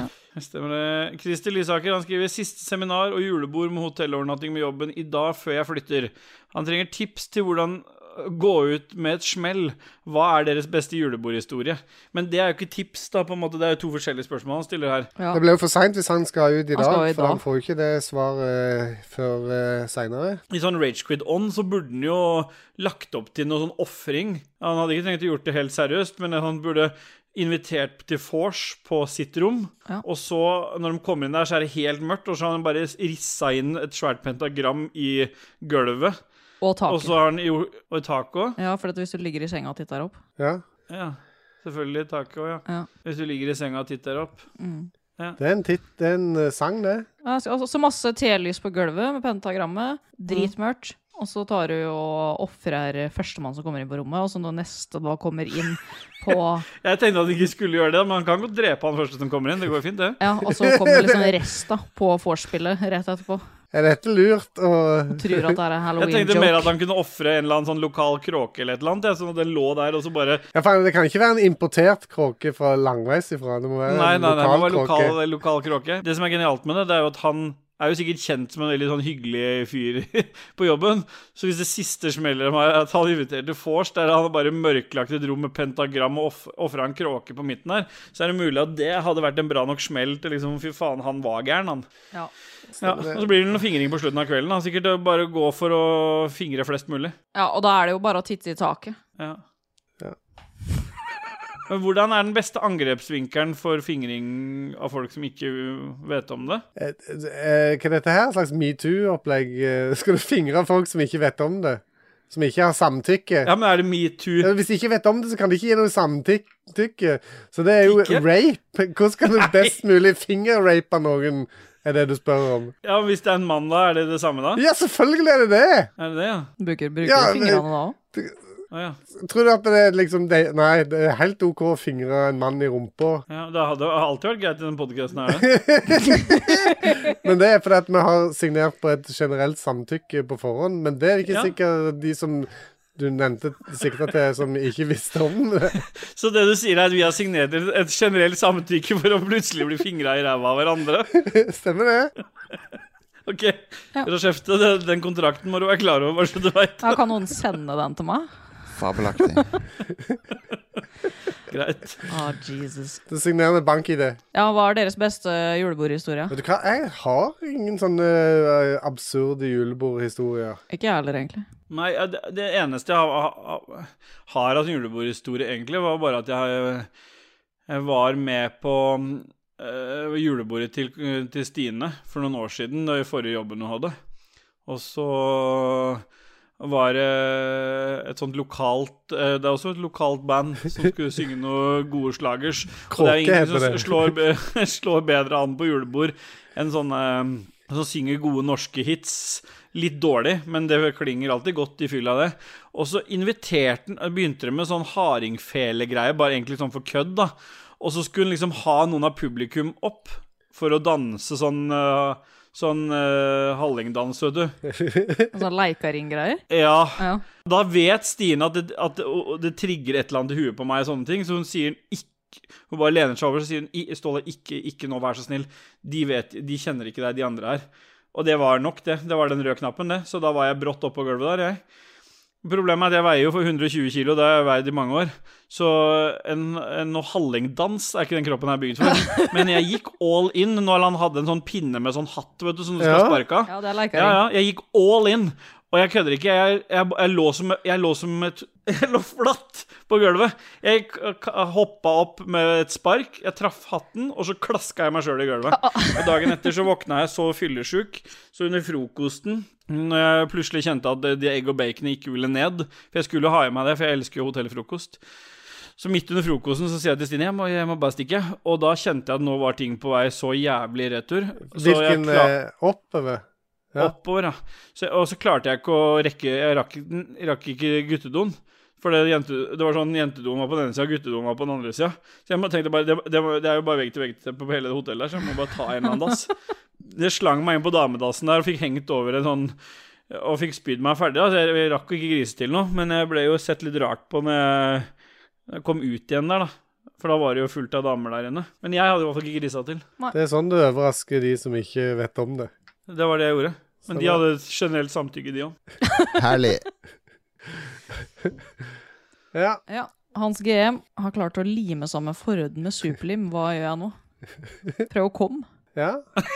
Stemmer det. Kristi Lysaker han skriver siste seminar og julebord med hotellovernatting med jobben i dag før jeg flytter. Han trenger tips til hvordan gå ut med et smell. Hva er deres beste julebordhistorie? Men det er jo ikke tips, da, på en måte. Det er jo to forskjellige spørsmål han stiller her. Ja. Det blir jo for seint hvis han skal ut i dag, Han skal jo i for dag. han får jo ikke det svaret før uh, seinere. I sånn Ragequid-ånd så burde han jo lagt opp til noe sånn ofring. Han hadde ikke trengt å gjort det helt seriøst, men han burde invitert til vors på sitt rom. Ja. Og så, når de kommer inn der, så er det helt mørkt, og så har han bare rissa inn et svært pentagram i gulvet. Og Og så taket. har han jo Og i taket òg? Ja, for at hvis du ligger i senga og titter opp. Ja. Ja. Selvfølgelig i taket òg, ja. Ja. Hvis du ligger i senga og titter opp. Det er en, tit det er en eh, sang, det. Ja, så- altså, så masse telys på gulvet med pentagrammet. Dritmørkt. Og så tar du og ofrer førstemann som kommer inn på rommet, og så når neste da kommer inn på Jeg tenkte at jeg ikke skulle gjøre det, men han kan godt drepe han første som kommer inn. Det går fint, det. Ja, og så kommer liksom resta på vorspielet rett etterpå. Er dette lurt å Tror at det er en Jeg tenkte mer at halloween-joke. han kunne ofre en eller annen sånn lokal kråke eller et eller annet, jeg, sånn at den lå der, og så bare ja, faen, Det kan ikke være en importert kråke fra langveis ifra. Det må være Nei, nei, en nei, det lokal var kråke. lokal, lokal kråke. Det som er genialt med det, det er jo at han er jo sikkert kjent som en veldig sånn hyggelig fyr (laughs) på jobben. Så hvis det siste smeller meg, at han inviterte vors, der han bare mørklagt et rom med pentagram og off- ofra en kråke på midten her, så er det mulig at det hadde vært en bra nok smell til liksom Fy faen, han var gæren, han. Ja. Ja, og så blir det noen fingring på slutten av kvelden. Han sikkert å bare gå for å fingre flest mulig. ja, og da er det jo bare å titte i taket. Ja. Ja. Men hvordan er den beste angrepsvinkelen for fingring av folk som ikke vet om det? Eh, eh, Hva er dette her? Et slags metoo-opplegg? Eh, Skal du fingre folk som ikke vet om det? Som ikke har samtykke? Ja, men er det metoo? Ja, Hvis de ikke vet om det, så kan de ikke gi noe samtykke. Så det er jo Ikke? rape. Hvordan kan du best mulig fingerrape noen, er det du spør om. Ja, hvis det er en mann, da, er det det samme da? Ja, selvfølgelig er det det! Er det det, ja? Bruker, bruker Ja, du fingrene da òg? Å, ja. Tror du at det er liksom det, Nei, det er helt OK å fingre en mann i rumpa, ja det hadde har alltid vært greit i den podkasten her, det. men det er fordi at vi har signert på et generelt samtykke på forhånd. Men det er ikke Ja. sikkert de som du nevnte sikta til, som ikke visste om det. Så det du sier, er at vi har signert et et generelt samtykke for å plutselig bli fingra i ræva av hverandre? Stemmer det? OK. Rashefte, det- den kontrakten må du være klar over, bare så du veit. Ja, kan noen sende den til meg? (laughs) Fabelaktig. Greit. Ah, Jesus. Du signerer med bank-ID. Ja, hva er deres beste julebordhistorie? Vet du hva, jeg har ingen sånne eh, absurde julebordhistorier. Ikke jeg heller, egentlig. Nei, ja, det, det eneste jeg har, har- har av sånn julebordhistorie, egentlig, var bare at jeg, jeg var med på eh, julebordet til, til Stine for noen år siden, da i forrige jobben hun hadde. Og så var det et sånt lokalt eh, Det er også et lokalt band som skulle synge noe gode slagers. Og det er Kråke ingen heter som det. slår, be- (laughs) slår bedre an på julebord enn sånne eh, som synger gode norske hits. Litt dårlig, men det klinger alltid godt i fylla, det. Og så inviterte han Begynte det med sånn hardingfelegreie, bare egentlig sånn for kødd, da. Og så skulle han liksom ha noen av publikum opp for å danse sånn eh, Sånn eh, hallingdans, vet du. Sånn leikaringgreier. Ja. Ja. Da vet Stine at det, at det, og det trigger et eller annet i huet på meg, og sånne ting, så hun sier ikke Hun bare lener seg over og sier hun, «I- Ståle, ikke, ikke nå, vær så snill. De, vet, de kjenner ikke deg, de andre her. Og det var nok, det. Det var den røde knappen, det. Så da var jeg brått oppå gulvet der, jeg. Problemet er at jeg veier jo for 120 kilo, det har jeg veid i mange år. Så en, en noe hallingdans er ikke den kroppen jeg er bygd for. Men jeg gikk all in når han hadde en sånn pinne med sånn hatt vet du, som du skal Ja. sparke av. Ja, det er leika. Ja, ja, jeg gikk all in. Og jeg kødder ikke. Jeg, jeg, jeg, lå som, jeg lå som et (laughs) Jeg lå flatt på gulvet. Jeg k- k- hoppa opp med et spark, jeg traff hatten, og så klaska jeg meg sjøl i gulvet. Og dagen etter så våkna jeg så fyllesjuk, så under frokosten når jeg plutselig kjente at de egg og baconet ikke ville ned For jeg skulle ha i meg det, for jeg elsker jo hotellfrokost. Så midt under frokosten så sier jeg til Stine jeg må, jeg må bare stikke. Og da kjente jeg at nå var ting på vei så jævlig retur. Så jeg Hvilken klar- eh, oppover? Ja. oppover, ja. Så, og så klarte jeg ikke å rekke Jeg rakk, jeg rakk ikke guttedoen. For det, jente, det var sånn jentedoen var på den ene sida, guttedoen var på den andre sida. Så jeg må- tenkte bare, det, det, må- det er jo bare vegg til vegg til- på hele det hotellet her, så jeg må bare ta en eller annen dass. (laughs) Det slang meg inn på damedassen der og fikk hengt over en sånn Og fikk spydd meg ferdig. da, Så jeg, jeg rakk jo ikke grise til noe, men jeg ble jo sett litt rart på når jeg, når jeg kom ut igjen der, da. For da var det jo fullt av damer der inne. Men jeg hadde i hvert fall ikke grisa til. Det er sånn du overrasker de som ikke vet om det. Det var det jeg gjorde. Men Så de bra. hadde generelt samtykke, de òg. Herlig. Ja. Ja. Hans GM har klart å lime sammen forhuden med superlim. Hva gjør jeg nå? Prøv å komme. ja. (laughs)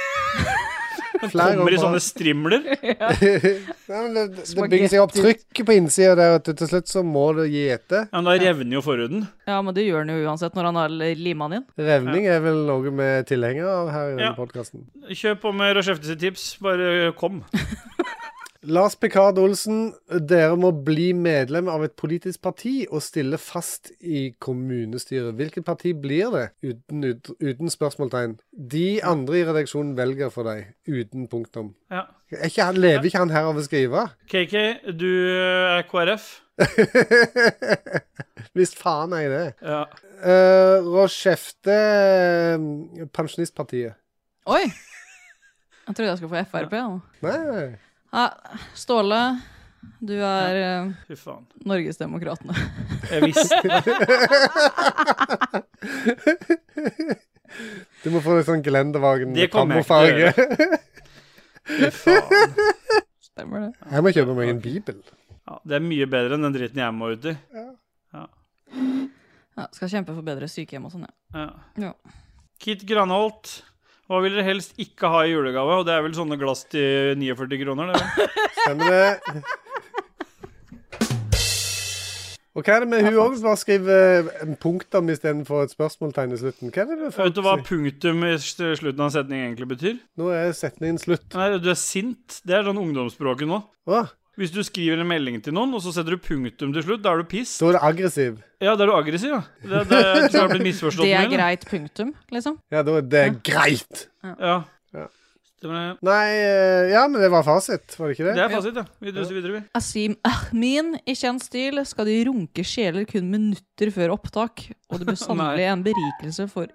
Kommer i over- sånne strimler. Nei, men det, det bygger seg opp trykk på innsida der, og til slutt så må du gi etter. Ja, men da revner jo forhuden. Ja, men det gjør han jo uansett når han har lima den inn. Revning er vel noe vi er tilhengere av her i denne Ja. podcasten podkasten. Kjør på med Rashefte sitt tips. Bare kom. Lars Picard Olsen, dere må bli medlem av et politisk parti og stille fast i kommunestyret. Hvilket parti blir det? Uten, ut, uten spørsmålstegn. De andre i redaksjonen velger for deg. Uten punktum. Ja. Er ikke han, lever ikke han her av å skrive? KK, du er KrF. Hvis faen er jeg det. Ja. Uh, Rochefte eh, Pensjonistpartiet. Oi! Jeg trodde jeg skulle få Frp. Ja. Nei. Ja, Ståle, du er eh, Fy faen. Norgesdemokratene. Jeg visste Du må få litt sånn Gelendevagen Det kommer jeg ikke til å kammerfarge. Fy faen. Stemmer det. Jeg må kjøpe meg en bibel. Ja, det er mye bedre enn den dritten jeg må ut i. Ja, skal kjempe for bedre sykehjem og sånn, ja. Ja. Ja. Kit Granholt. Hva vil dere helst ikke ha i julegave? Og det er vel sånne glass til 49 kroner? Det, vel? Stemmer det? Og hva er det med hun òg som bare skriver en punktum istedenfor et spørsmålstegn i slutten? Hva er det det Vet folk du hva (laughs) sier? punktum i s- slutten av en setning egentlig betyr? Nå er setningen slutt. Nei, du er sint. Det er sånn ungdomsspråket nå. Å, Hvis du skriver en melding til noen, og så setter du punktum til slutt, da er du piss. da er du aggressiv. Ja, da er du aggressiv, ja. Det, det, du har blitt misforstått Det med, er eller? greit, punktum, liksom. Ja, da er det greit. Ja. Ja. Stemmer det. Nei eh, Ja, men det var fasit, var det ikke det? Det er fasit, ja. Vi duser videre, vi. Asim Ahmin i kjent stil skal de runke sjeler kun minutter før opptak, og det blir sannelig en berikelse for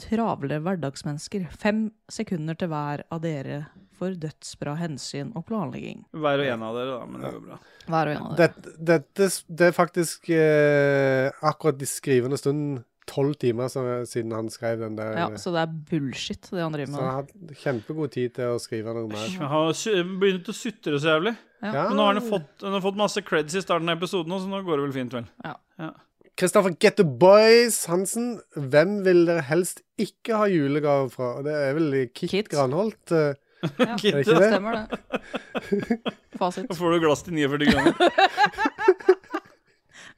travle hverdagsmennesker. Fem sekunder til hver av dere for dødsbra hensyn og planlegging. Hver og en av dere, da. Men det går bra. Hver og en av dere. Dette, dette s- det er faktisk eh, akkurat i skrivende stund tolv timer som- siden han skrev den der. Ja, så det er bullshit, det han driver så han med. hadde kjempegod tid til å skrive noe mer. Men Han har sy- begynt å sutre så jævlig. Ja. Men nå har han jo fått, han har fått masse creds i starten av episoden, så nå går det vel fint, vel. Kristoffer Get the Boys Hansen, hvem vil dere helst ikke ha julegave fra? Og Det er vel Kit, Kit. Granholt. eh, Ja, Kit, ikke det? stemmer det. Fasit. Da får du glass til 49 (laughs) kroner.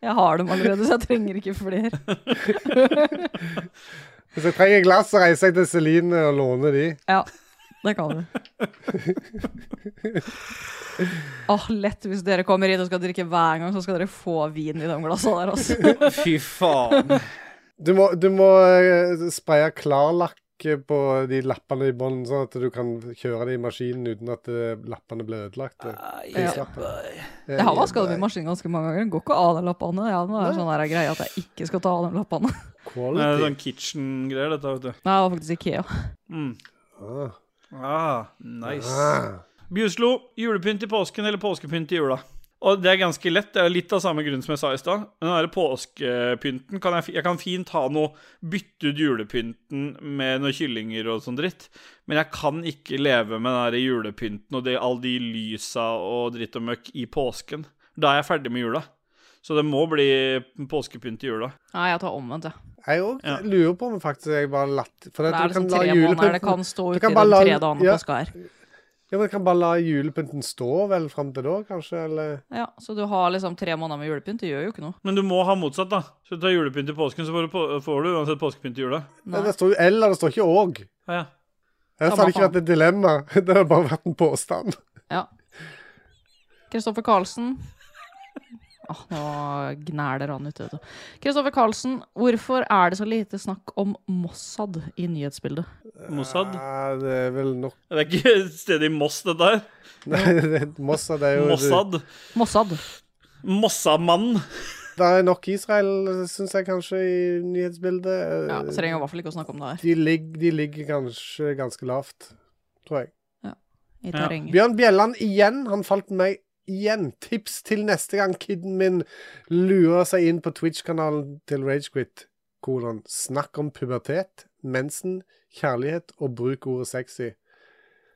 Jeg har dem allerede, så jeg trenger ikke flere. Hvis jeg trenger glass, så reiser jeg til Celine og låner de. Ja, det kan du. Åh, lett hvis dere kommer hit og skal drikke hver gang, så skal dere få vin i de glassene der, altså. Fy faen. Du må, du må eh, spraye klarlakk på de lappene i bånn, sånn at du kan kjøre det i maskinen uten at eh, lappene blir ødelagt. Ah, Eh, Prislappen. Eh, Jeg har vaska dem i maskinen ganske mange ganger. Det Går ikke av de lappene. Ja, nå er det sånn her greie at jeg ikke skal ta av de lappene. Det er Quality. sånn kitchen-greier, dette, vet du. Nei, det var faktisk Ikea. Mm. Ah. Ah, nice. Ah. Bjuslo, julepynt i påsken eller påskepynt i jula? Og det er ganske lett, det er litt av samme grunn som jeg sa i stad. Men den der påskepynten kan jeg, fi- jeg kan fint ha noe Bytte ut julepynten med noen kyllinger og sånn dritt. Men jeg kan ikke leve med den der julepynten og det, all de lysa og dritt og møkk i påsken. Da er jeg ferdig med jula. Så det må bli påskepynt i jula. Nei, jeg tar omvendt, jeg. Jeg òg Ja. lurer på om faktisk jeg bare latt For Det at du er kan la liksom tre måneder det julepynten kan stå du ute kan i bare de la- tre dagene ja. påska er. Ja, men du kan bare la julepynten stå vel fram til da, kanskje? Eller Ja, så du har liksom tre måneder med julepynt. Det gjør jo ikke noe. Men du må ha motsatt, da. Så du tar julepynt i påsken, så får du, på, får du uansett påskepynt i jula. Nei. Det står jo 'eller', det står ikke 'og'. Ja, ja. Ellers Samme hadde det ikke faen. vært et dilemma. (laughs) Det hadde bare vært en påstand. Kristoffer Karlsen. Ah, nå gnæler han ute. vet du. Kristoffer Karlsen, hvorfor er det så lite snakk om Mossad i nyhetsbildet? Mossad. Ja, det er vel (laughs) nok Det er ikke stedet i Moss, dette her. Nei, det- Mossad er jo Mossad. Mossad. Mossamann. Det er nok Israel, syns jeg kanskje, i nyhetsbildet. Eh, Ja, så trenger jeg i hvert fall ikke å snakke om det her. de, ligger, de ligger kanskje ganske lavt, tror jeg. I Ja. terrenget. Bjørn Bjelland igjen. Han falt meg igjen. Tips til neste gang kiden min lurer seg inn på Twitch-kanalen til Ragequit. Kolon. Snakk om pubertet, mensen, kjærlighet og bruk ordet sexy.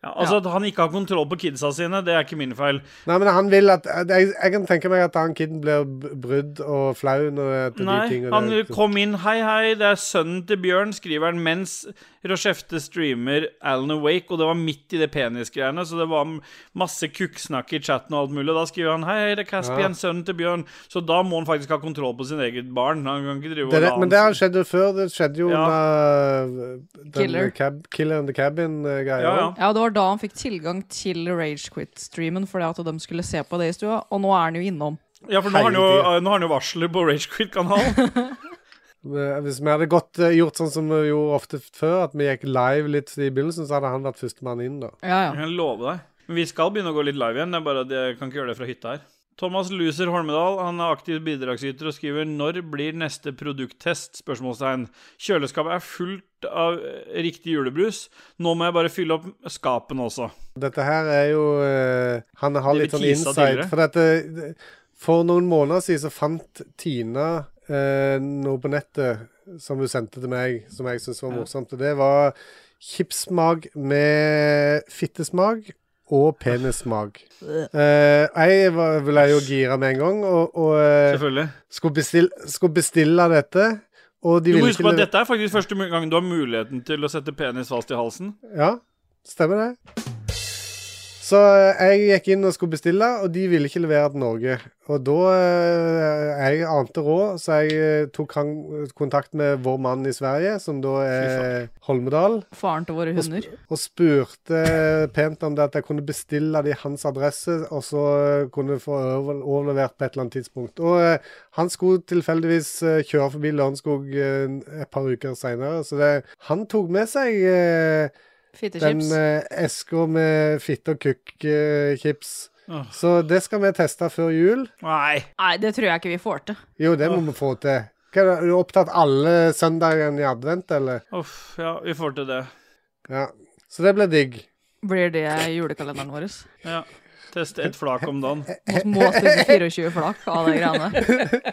Ja, altså at han ikke har kontroll på kidsa sine, det er ikke min feil. Nei, men han vil at Jeg, jeg kan tenke meg at han kiden blir b- brydd og flau når det til de Nei, tingene han der. kom inn Hei, hei, det er sønnen til Bjørn, skriver han mens Rochefte streamer Alan Awake, og det var midt i det penisgreiene, så det var m- masse kukksnakk i chatten og alt mulig. Og da skriver han Hei, hei, det er Caspian, sønnen til Bjørn. Så da må han faktisk ha kontroll på sin eget barn. Han kan ikke drive det, og det, la han- men det har skjedd jo før. Det skjedde jo Ja. under uh, den Killer. Cab, Killer in the eh, Cabin-greia. Ja, ja. Ja, det var da han fikk tilgang til Ragequit-streamen fordi at de skulle se på det i stua, og nå er han jo innom. ja, for nå har han jo, Hele tiden. nå har han jo varsler på Ragequit-kanalen. Hvis vi hadde gått, eh, gjort sånn som vi gjorde ofte før, at vi gikk live litt i begynnelsen, så hadde han vært førstemann inn, da. Ja, Jeg ja. kan love deg. Men vi skal begynne å gå litt live igjen. Det er bare at jeg kan ikke gjøre det fra hytta her. Thomas Luser Holmedal han er aktiv bidragsyter og skriver 'Når blir neste produkttest?' spørsmålstegn. Kjøleskapet er fullt av eh, riktig julebrus. Nå må jeg bare fylle opp skapene også. Dette her er jo eh, Han har Det vi litt sånn teasa tidligere. insight. For, at, eh, for noen måneder siden så fant Tina eh, noe på nettet som hun sendte til meg, som jeg syntes var Ja. morsomt. Og det var chipsmak med fittesmak og penissmak. Eh, jeg var, ville jo gira med en gang, og, og eh, Selvfølgelig. skulle, bestille, skulle bestille dette. Og de Du må ville huske ikke på at lever- dette er faktisk første mu- gang du har muligheten til å sette penis fast i halsen. Ja, stemmer det. Så eh, jeg gikk inn og skulle bestille, og de ville ikke levere til Norge. Og da eh, Jeg ante råd, så jeg eh, tok han- kontakt med vår mann i Sverige, som da er Holmedal, Faren til våre hunder. og spurte pent om det at jeg kunne bestille det i hans adresse, og så eh, kunne få over- overlevert på et eller annet tidspunkt. Og eh, han skulle tilfeldigvis eh, kjøre forbi Lørenskog eh, et par uker seinere, så det, han tok med seg eh, den Fittechips. eh, eska med fitte og kukk-chips. Åh. Så det skal vi teste før jul. Nei. Nei, det tror jeg ikke vi får til. Jo, det må vi få til. Hva er det, er du opptatt alle søndagene i advent, eller? Uff, ja, vi får til det. Ja. Så det blir digg. Blir det julekalenderen vår? Ja. Teste (laughs) ett flak om dagen. Må- Må spise 24 flak av de greiene.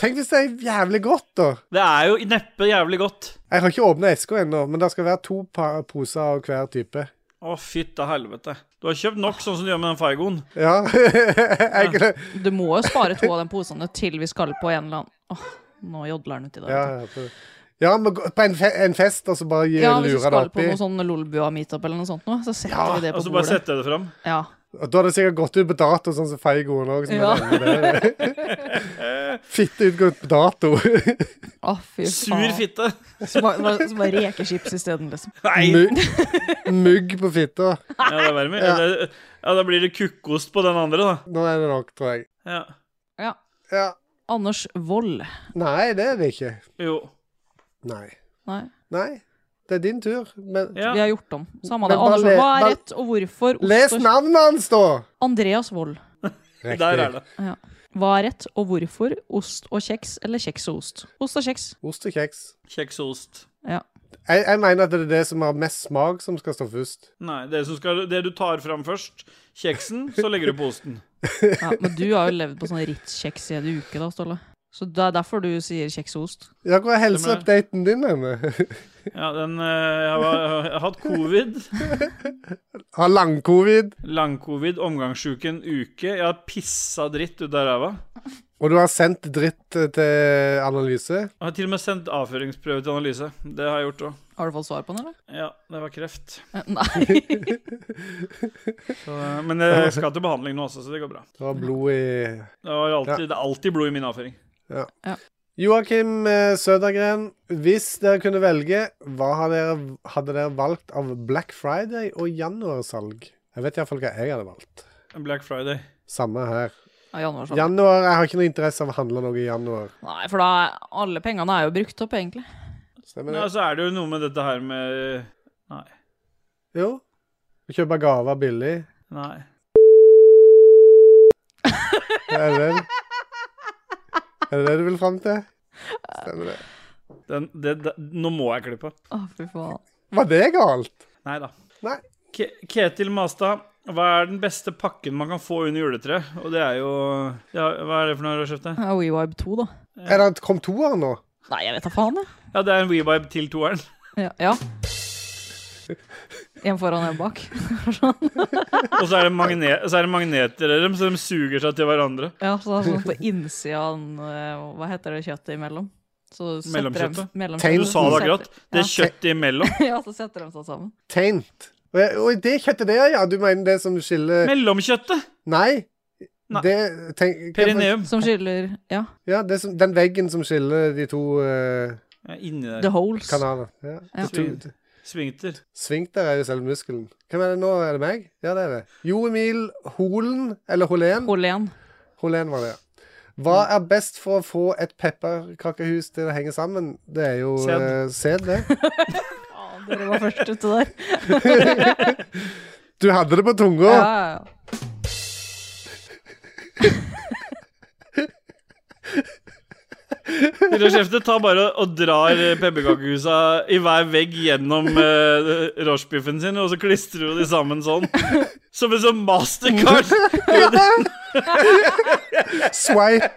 Tenk hvis det er jævlig godt, da. Det er jo neppe jævlig godt. Jeg har ikke åpna eska ennå, men det skal være to pa- poser av hver type. Å, fytte helvete. Du har kjøpt nok, sånn som du gjør med den Feigoen. Ja. jeg, kunne- Du må jo spare to av de posene til vi skal på en eller annen Åh, nå jodler han uti det. ja, vet du. ja, på- ja men gå- på en, fe en fest, og så bare gi- Ja, hvis vi lure det skal på oppi. noe sånn Lolbua-meetup eller noe sånt, nå, så setter vi det på Og så altså, bare bordet. setter jeg det fram. Ja. Og Da har det sikkert gått ut på dato, sånn som Feigoen òg. Ja. (laughs) (laughs) Fitte utgått på dato. Å, fy Sur faen. fitte. (laughs) Som bare som bare rekechips isteden, liksom. Nei! Mugg, mugg på fitta. Ja, det er verre med. Ja. Eller- ja, da blir det kukkost på den andre, da. Nå er det nok, tror jeg. Ja. Ja. Ja. Anders Wold. Nei, det er det ikke. Jo. Nei. Nei. Nei. Det er din tur. Men Vi Ja. har gjort om. Samme Men det. bare Anders, le- hva er bare- rett, og hvorfor? Ost les og- navnet hans, da! Andreas Wold. Der er det. Hva er rett, og hvorfor? Ost og kjeks, eller kjeks og ost? Ost og kjeks. Ost og kjeks. Kjeks og ost. Ja. Jeg, jeg mener at det er det som har mest smak, som skal stå først. Nei, det, som skal, det du tar fram først, kjeksen, så legger du på osten. ja. Men du har jo levd på sånn Ritz-kjeks i en uke, da, Ståle. Så det er derfor du sier kjeks og ost. Ja, hvor er helseupdaten din henne? Ja, den, eh, jeg, var, jeg har hatt covid, (laughs) Har lang-covid, lang-covid, omgangssjuke en uke. Jeg har pissa dritt ut av ræva. og du har sendt dritt eh, til analyse. Jeg har til og med sendt avføringsprøve til analyse. Det har jeg gjort òg. Har du fått svar på den, eller? Ja, det var kreft. Eh, Nei. Så, eh, men jeg skal til behandling nå også, så det går bra. Du har blod i Det, var alltid, det er alltid blod i min avføring. Joakim eh, Sødagren, hvis dere kunne velge, hva hadde dere, hadde dere valgt av Black Friday og januarsalg? Jeg vet iallfall hva jeg hadde valgt. Black Friday. Samme her. (laughs) Ja, januar, sånn. Januar, Jeg har ikke noe interesse av å handle noe i januar. Nei, for da er alle pengene er jo brukt opp, egentlig. Stemmer Nei, det? så er det jo noe med dette her med Nei. Jo. Kjøpe gaver billig. Nei. Er det (laughs) det, er det, det du vil fram til? Stemmer det. Den, det, det, nå må jeg klippe. Å, fy faen. Var det galt? Nei da. Nei. Ke Ketil Mastad, hva er den beste pakken man kan få under juletreet? Og det er jo ja, Hva er det for noe du har kjøpt? det? Det er WeVibe 2, da. Er det kom toeren nå? Nei, jeg vet da faen, jeg. Ja, det er en WeVibe til toeren. (laughs) Ja. ja. En foran, en bak. Og så er det, magne så er det magneter i dem, så de suger seg til hverandre. Ja, så det er sånn på innsida av den, eh, Hva heter det kjøttet imellom? Så setter de- Mellomkjøttet? Tein. Mellomkjøttet. Du sa det akkurat. Det er Ja. kjøttet imellom. (laughs) Ja, så setter de seg sammen. Taint. Og, jeg- og det kjøttet der, ja. Du mener det som skiller Mellomkjøttet! Nei. Nei. Det, tenk, Perineum. Som skylder Ja, Ja, det som, den veggen som skiller de to eh, Ja, inni The der. Holes. kanalene. Ja. Ja. De to- Svingter. Sving der er jo selve muskelen. Hvem er det nå? Er det meg? Ja, det er det. Jo Emil Holen, eller Holén. Holén. Holén var det, ja. Hva er best for å få et pepperkakehus til å henge sammen? Det er jo Sæd. eh, sæd, det. Ja, dere var først ute der. Du hadde det på tunga! (laughs) Ja, ja, ja. Råskjeftet tar bare og drar eh, pepperkakehusa i hver vegg gjennom uh, rochebiffen sin, og så klistrer hun de sammen sånn. Som en sånn mastercard. Swipe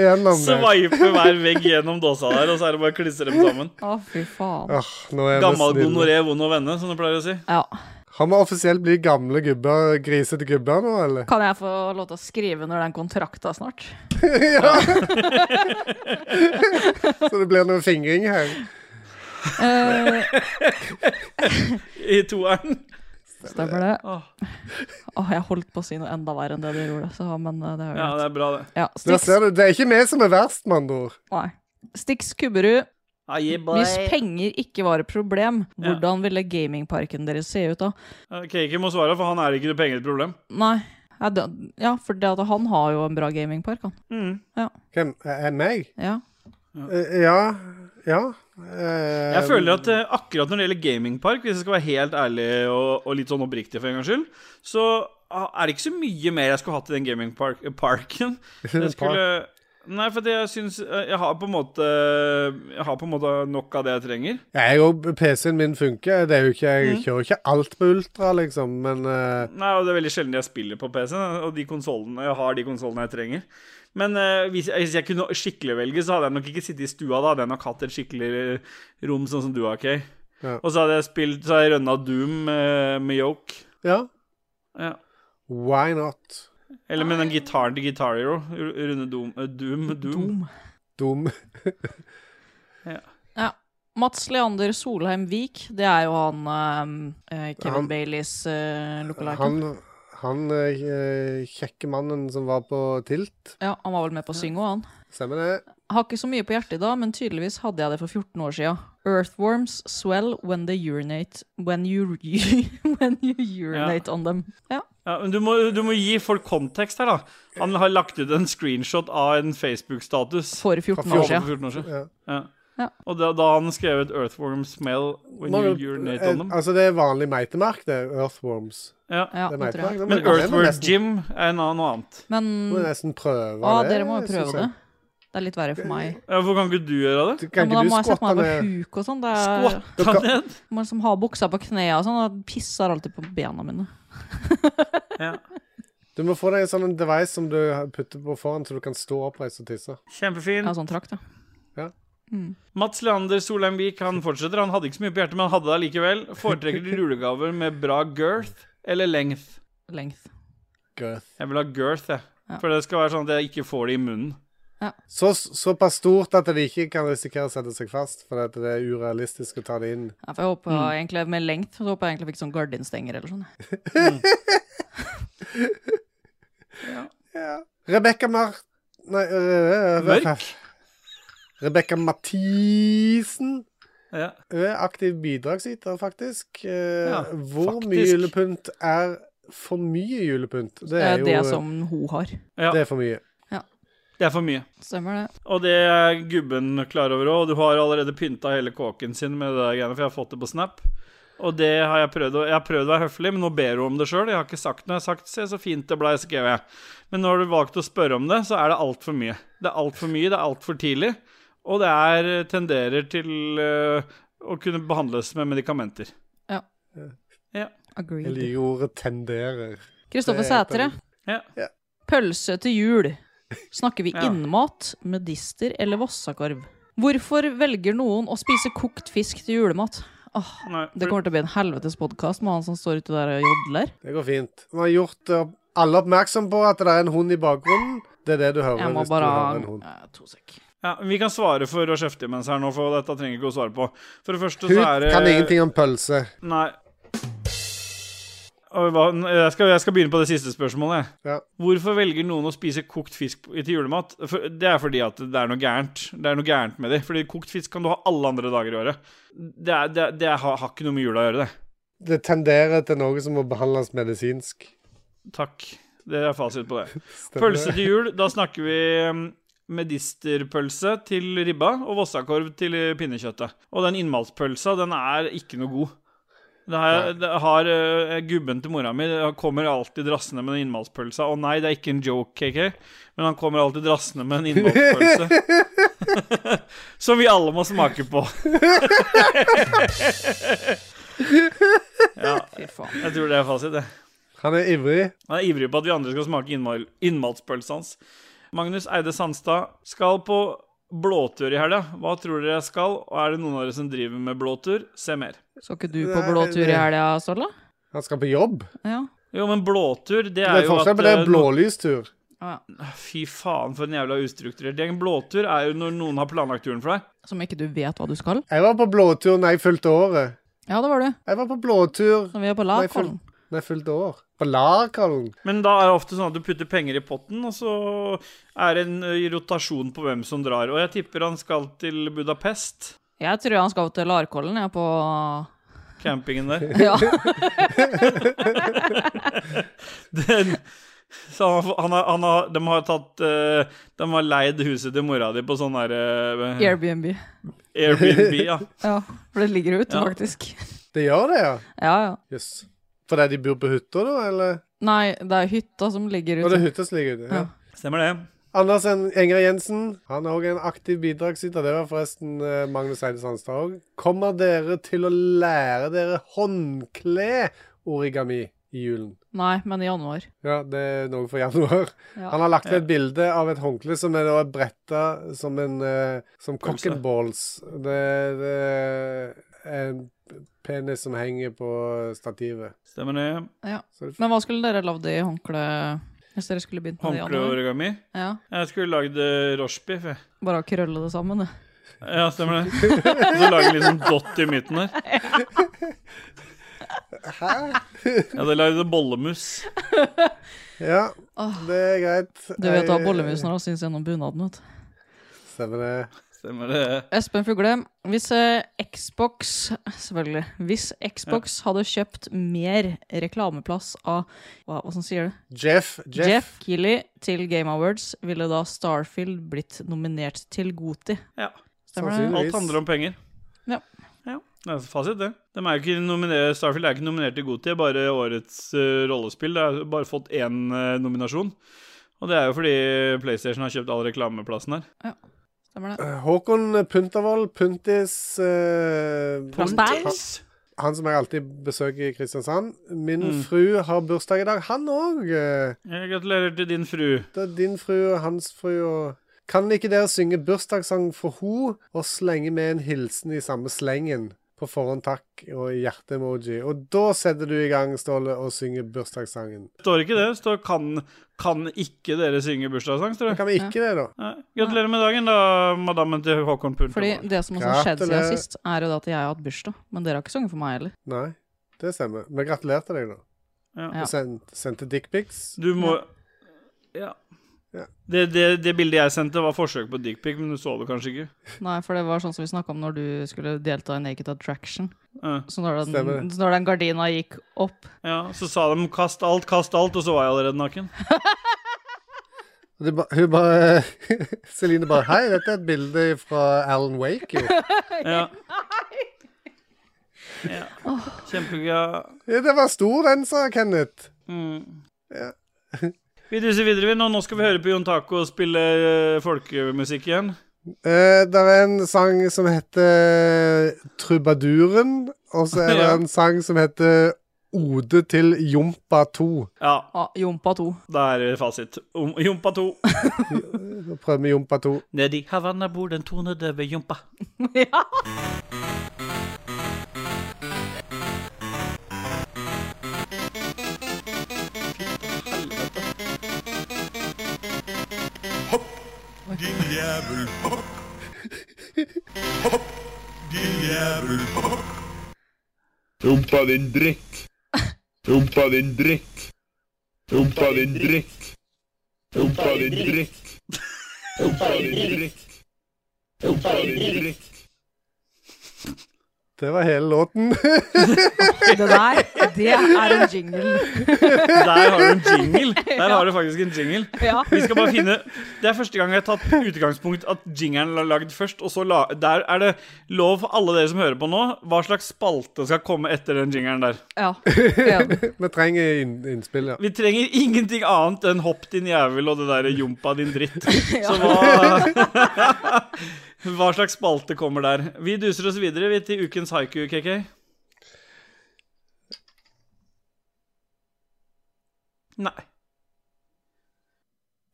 gjennom det. Sveiper hver vegg gjennom dåsa der, og så er det bare å klistre dem sammen. Å, fy faen. Åh, nå er vi Gammel snille. gonoré, vond å vende, som du pleier å si. Ja. Har vi offisielt blitt gamle gubber, grisete gubber nå, eller? Kan jeg få lov til å skrive under den kontrakta snart? ja. Så det blir noe fingring her. Eh, I toeren. stemmer det. Åh, Åh, jeg holdt på å si noe enda verre enn det du gjorde, så, men eh, det har jeg ja, glemt. det er bra, det. Ja, Der Stix, ser du, det er ikke vi som er verst, med andre ord. nei. Stix Kubberud, hvis penger ikke var et problem, Ja. hvordan ville gamingparken deres se ut da? Kake må svare, for han er ikke noe penger et problem. Nei, ja, det- ja, for det at han har jo en bra gamingpark, han. Hvem? Er meg? Ja. Eh, Ja. Ja. Eh, Jeg føler at eh, akkurat når det gjelder gamingpark, hvis jeg skal være helt ærlig og, og litt sånn oppriktig for en gangs skyld, så ah, er det ikke så mye mer jeg skulle hatt i den gamingparken. Jeg skulle Nei, for jeg syns eh, Jeg har på en måte Jeg har på en måte nok av det jeg trenger. Jeg og PC-en min funker. Det er jo ikke, Mm. jeg kjører ikke alt på ultra, liksom, men eh, Nei, og Det er veldig sjelden jeg spiller på PC, og de konsollene- jeg har de konsollene jeg trenger. Men eh, hvis, jeg, hvis jeg kunne skikkelig velge, så hadde jeg nok ikke sittet i stua. Da hadde jeg nok hatt et skikkelig rom, sånn som du har, Kay. Ja. Og så hadde jeg spilt Så hadde jeg rønna Doom eh, med Yoke. ja. Ja. Why not? Eller med den gitaren til Guitar Hero. ru- Runde Doom. eh, Doom, Doom. Dum. Dum. Mats Leander Solheim Vik, det er jo han eh, eh, Kevin Han- Baileys uh, lookalike. Han, han eh, kjekke mannen som var på tilt. Ja, han var vel med på å synge òg, han. Stemmer det? Har ikke så mye på hjertet i dag, men tydeligvis hadde jeg det for 14 år sia. Earthworms swell when they urinate When you, (laughs) when you urinate on them. Ja. Ja, men du, må, du må gi folk kontekst her, da. Han har lagt ut en screenshot av en Facebook-status. For Ja, 14 år for sia. 14 år siden. Ja. Ja. Ja. Og da, da har han skrevet 'Earthworm smell when Må you du- urinate eh, on them'. Altså, det er vanlig meitemark, det. Earthworms. Ja. Ja, det er det tror meitemark. jeg. Det må- Men det må jeg Earthworm nesten- Jim er en annen- noe annet. Men må jeg nesten prøve ah, Mm. dere må jo synes prøve jeg. det. Det er litt verre for meg. Ja, Hvorfor kan ikke du gjøre det? Du, Ja, kan men da ikke du må jeg sette skvatte meg på ned? huk og sånn. Det er, Skvatta ned? man liksom har buksa på knærne og sånn, og pisser alltid på bena mine. Ja. Du må få deg en sånn device som du putter på foran, så du kan stå oppreist og tisse. Kjempefin. Ja, sånn trakt, da. Mats Leander Solheimvik han fortsetter. Han hadde ikke så mye på hjertet, men han hadde det allikevel. Foretrekker de julegaver med bra girth eller length? Length. Girth. Jeg vil ha girth, jeg. Ja. For det skal være sånn at jeg ikke får det i munnen. Så, såpass stort at det ikke kan risikere å sette seg fast, for at det er urealistisk å ta det inn. Ja, for jeg håper Mm. egentlig med length så håper jeg egentlig jeg fikk sånn gardinstenger eller sånn. Rebekka Mar... Nei øh, øh, Mørk? Rebekka Mathisen. Ja. Hun er aktiv bidragsyter, faktisk. Eh, Ja, Hvor mye faktisk. julepynt er for mye julepynt? Det Det er er jo det som hun har. ja. det er for mye. Det er for mye. Stemmer det. Og det er gubben klar over òg. Og du har allerede pynta hele kåken sin med det der greiene, for jeg har fått det på Snap. Og det har jeg prøvd å Jeg har prøvd å være høflig, men nå ber hun om det sjøl. Jeg har ikke sagt noe. Jeg har sagt 'se, så fint det blei', skrev jeg. Men når du valgte å spørre om det, så er det altfor mye. Det er altfor mye, det er altfor tidlig. Og det er tenderer til øh, å kunne behandles med medikamenter. Jeg Agreed. liker ordet 'tenderer'. Kristoffer Det er helt Sætre. Ja. Ja. Pølse til jul. Snakker vi Ja. innmat, medister eller vossakorv? Hvorfor velger noen å spise kokt fisk til julemat? Åh, Nei, for, det kommer til å bli en helvetes podkast med han som står ute der og jodler. Det går fint. Vi har gjort eh, alle oppmerksom på at det er en hund i bakgrunnen. Det er det du hører Jeg må hvis bare du hører en hund. ha to sek. ja, vi kan svare for å kjefte imens her nå, for dette trenger ikke å svare på. For det første Hun så er det kan ingenting om pølse. Nei. Og hva, jeg, skal, jeg skal begynne på det siste spørsmålet. jeg. Ja. Hvorfor velger noen å spise kokt fisk på- til julemat? For, det er fordi at det er noe gærent Det er noe gærent med det. Fordi kokt fisk kan du ha alle andre dager i året. Det, er, det, er- det har, har ikke noe med jula å gjøre, det. Det tenderer til noe som må behandles medisinsk. Takk. Det er fasit på det. Stemmer Pølse det? til jul, da snakker vi mm, medisterpølse til ribba og vossakorv til eh, pinnekjøttet. Og den innmatspølsa, den er ikke noe god. Det har, det har eh, gubben til mora mi han kommer alltid drassende med den innmatspølsa. Å nei, det er ikke en joke, KK, men han kommer alltid drassende med en innmatspølse. (laughs) Som vi alle må smake på. (laughs) ja, Fy faen. jeg tror det er fasit, det. Han er ivrig. Han er ivrig på at vi andre skal smake innmal innmatspølsa hans. Magnus Eide Sandstad skal på blåtur i helga. Hva tror dere jeg skal, og er det noen av dere som driver med blåtur? Se mer. Skal ikke du på Nei, blåtur i det- helga, Solla? Han skal på jobb. Ja. Jo, men blåtur, det Det er er jo at forskjell på det eh, er blålystur. Ah, ja. no- Fy faen, for en jævla ustrukturert gjeng. Blåtur er jo når noen har planlagt turen for deg. Som ikke du vet hva du skal? Jeg var på blåtur når jeg fylte året. Ja, det var du. Jeg var på blåtur Når vi er på når jeg fylte- Lakollen. når jeg fylte år. På Larkollen. Men da er det ofte sånn at du putter penger i potten, og så er det en ø, rotasjon på hvem som drar. Og jeg tipper han skal til Budapest, Jeg tror han skal til Larkollen, jeg, på (laughs) campingen der. Ja. Den, så han, har- han, har- han har, de har tatt eh, De har leid huset til mora di på sånn der eh, Airbnb. Airbnb. Ja. Ja, for det ligger ute, Ja. faktisk. Det gjør det, ja. Ja, ja. Jøss. Yes. Fordi de bor på hytta, da? Eller? Nei, det er hytta som ligger Og det ute. er hytta som ligger ute. Ja. Ja. Stemmer det. Anders En- Enger Jensen, han er òg en aktiv bidragsyter. Det var forresten eh, Magnus Eide Sandstad òg. Kommer dere til å lære dere håndkle-origami i julen? Nei, men i januar. Ja, det er noe for januar. Ja. Han har lagt ved et bilde av et håndkle som er da bretta som en eh, Som Pølse. cock and balls. Det, det er en penis som henger på stativet. Stemmer det. Så det, Men hva skulle dere lagd i håndkle hvis dere skulle begynt med det i januar? Håndkleorigami. Ja, Jeg skulle lagd eh, rochebiff, jeg. Bare å krølle det sammen, det. Ja, stemmer det. Og så lage litt sånn dott i midten der. Jeg hadde lagd bollemus. ja, Åh. det er greit. Du vet hva Jeg- bollemus når han syns gjennom bunaden, vet du. Stemmer det. Stemmer det. Espen Fugle, hvis eh, Xbox Selvfølgelig. Hvis Xbox hadde kjøpt mer reklameplass av Hva, hva som sier det? Jeff. Jeff, Jeff. Keighley til Game Awards, ville da Starfield blitt nominert til Goti? Ja. Stemmer det? Alt handler om penger. Ja. ja. Det er fasit, det. De er jo ikke nominert, Starfield er ikke nominert til Goti, bare årets eh, rollespill. Det har bare fått én eh, nominasjon. Og det er jo fordi PlayStation har kjøpt all reklameplassen her. Stemmer det? Håkon Puntervold, Puntis eh, Plass. Puntis? han som jeg alltid besøker i Kristiansand. Min Mm. fru har bursdag i dag, han eh. òg. Jeg gratulerer til din fru. Det er din fru og hans fru og Kan ikke dere synge bursdagssang for ho og slenge med en hilsen i samme slengen? På forhånd takk og hjerte-emoji. Og da setter du i gang, Ståle, og synger bursdagssangen. Det står ikke det. Det står kan, 'Kan ikke dere synge bursdagssang', står det. Kan vi ikke det, da? Nei. Gratulerer med dagen, da, madammen til Håkon Punto. Fordi det som har skjedd siden Gratulerer. sist, er jo da at jeg har hatt bursdag. Men dere har ikke sunget for meg heller. Nei, det stemmer. Vi gratulerte deg, da. Ja. Ja. Du sendte, sendte dickpics. Du må Ja. Ja. Det, det, det bildet jeg sendte, var forsøk på dickpic, men du så det kanskje ikke. Nei, for det var sånn som vi snakka om når du skulle delta i Naked Attraction. Ja. Så når Stemmer den, det. så når den gardina gikk opp Ja, Så sa de 'kast alt, kast alt', og så var jeg allerede naken. Og det ba, hun bare (laughs) Celine bare Hei, dette er et bilde fra Alan Wake, jo. Ja. ja. Kjempegøy. Ja, det var stor, den, sa Kenneth. Mm. Ja. Vi duser videre, vi. Nå, nå skal vi høre på Jon Taco spille eh, folkemusikk igjen. Eh, det er en sang som heter Trubaduren, og så er det (laughs) Ja. en sang som heter Ode til Jompa 2. Ja, ah, Jompa 2. da er fasit. Om- Jompa 2. Da prøver vi Jompa 2. Nedi Havanna bor den tonedøve Jompa. ja. Din jævel. Hopp. Hopp. Din jævel. Hopp. Rumpa din drikk. Rumpa din drikk. Rumpa din drikk. Rumpa din drikk. Rumpa din drikk. Rumpa din drikk. Det var hele låten. (laughs) (laughs) Det der, det er en jingle. Der har du en jingle. Der har du faktisk en jingle. (laughs) Ja. Vi skal bare finne Det er første gang jeg har tatt utgangspunkt at jingeren er lagd først, og så la Der er det lov for alle dere som hører på nå, hva slags spalte skal komme etter den jingeren der. ja. (laughs) Enig. vi trenger inn, innspill, ja. Vi trenger ingenting annet enn 'hopp din jævel' og det derre 'jompa din dritt'. Så hva (laughs) Hva slags spalte kommer der? Vi duser oss videre vi til ukens haiku, KK. Nei.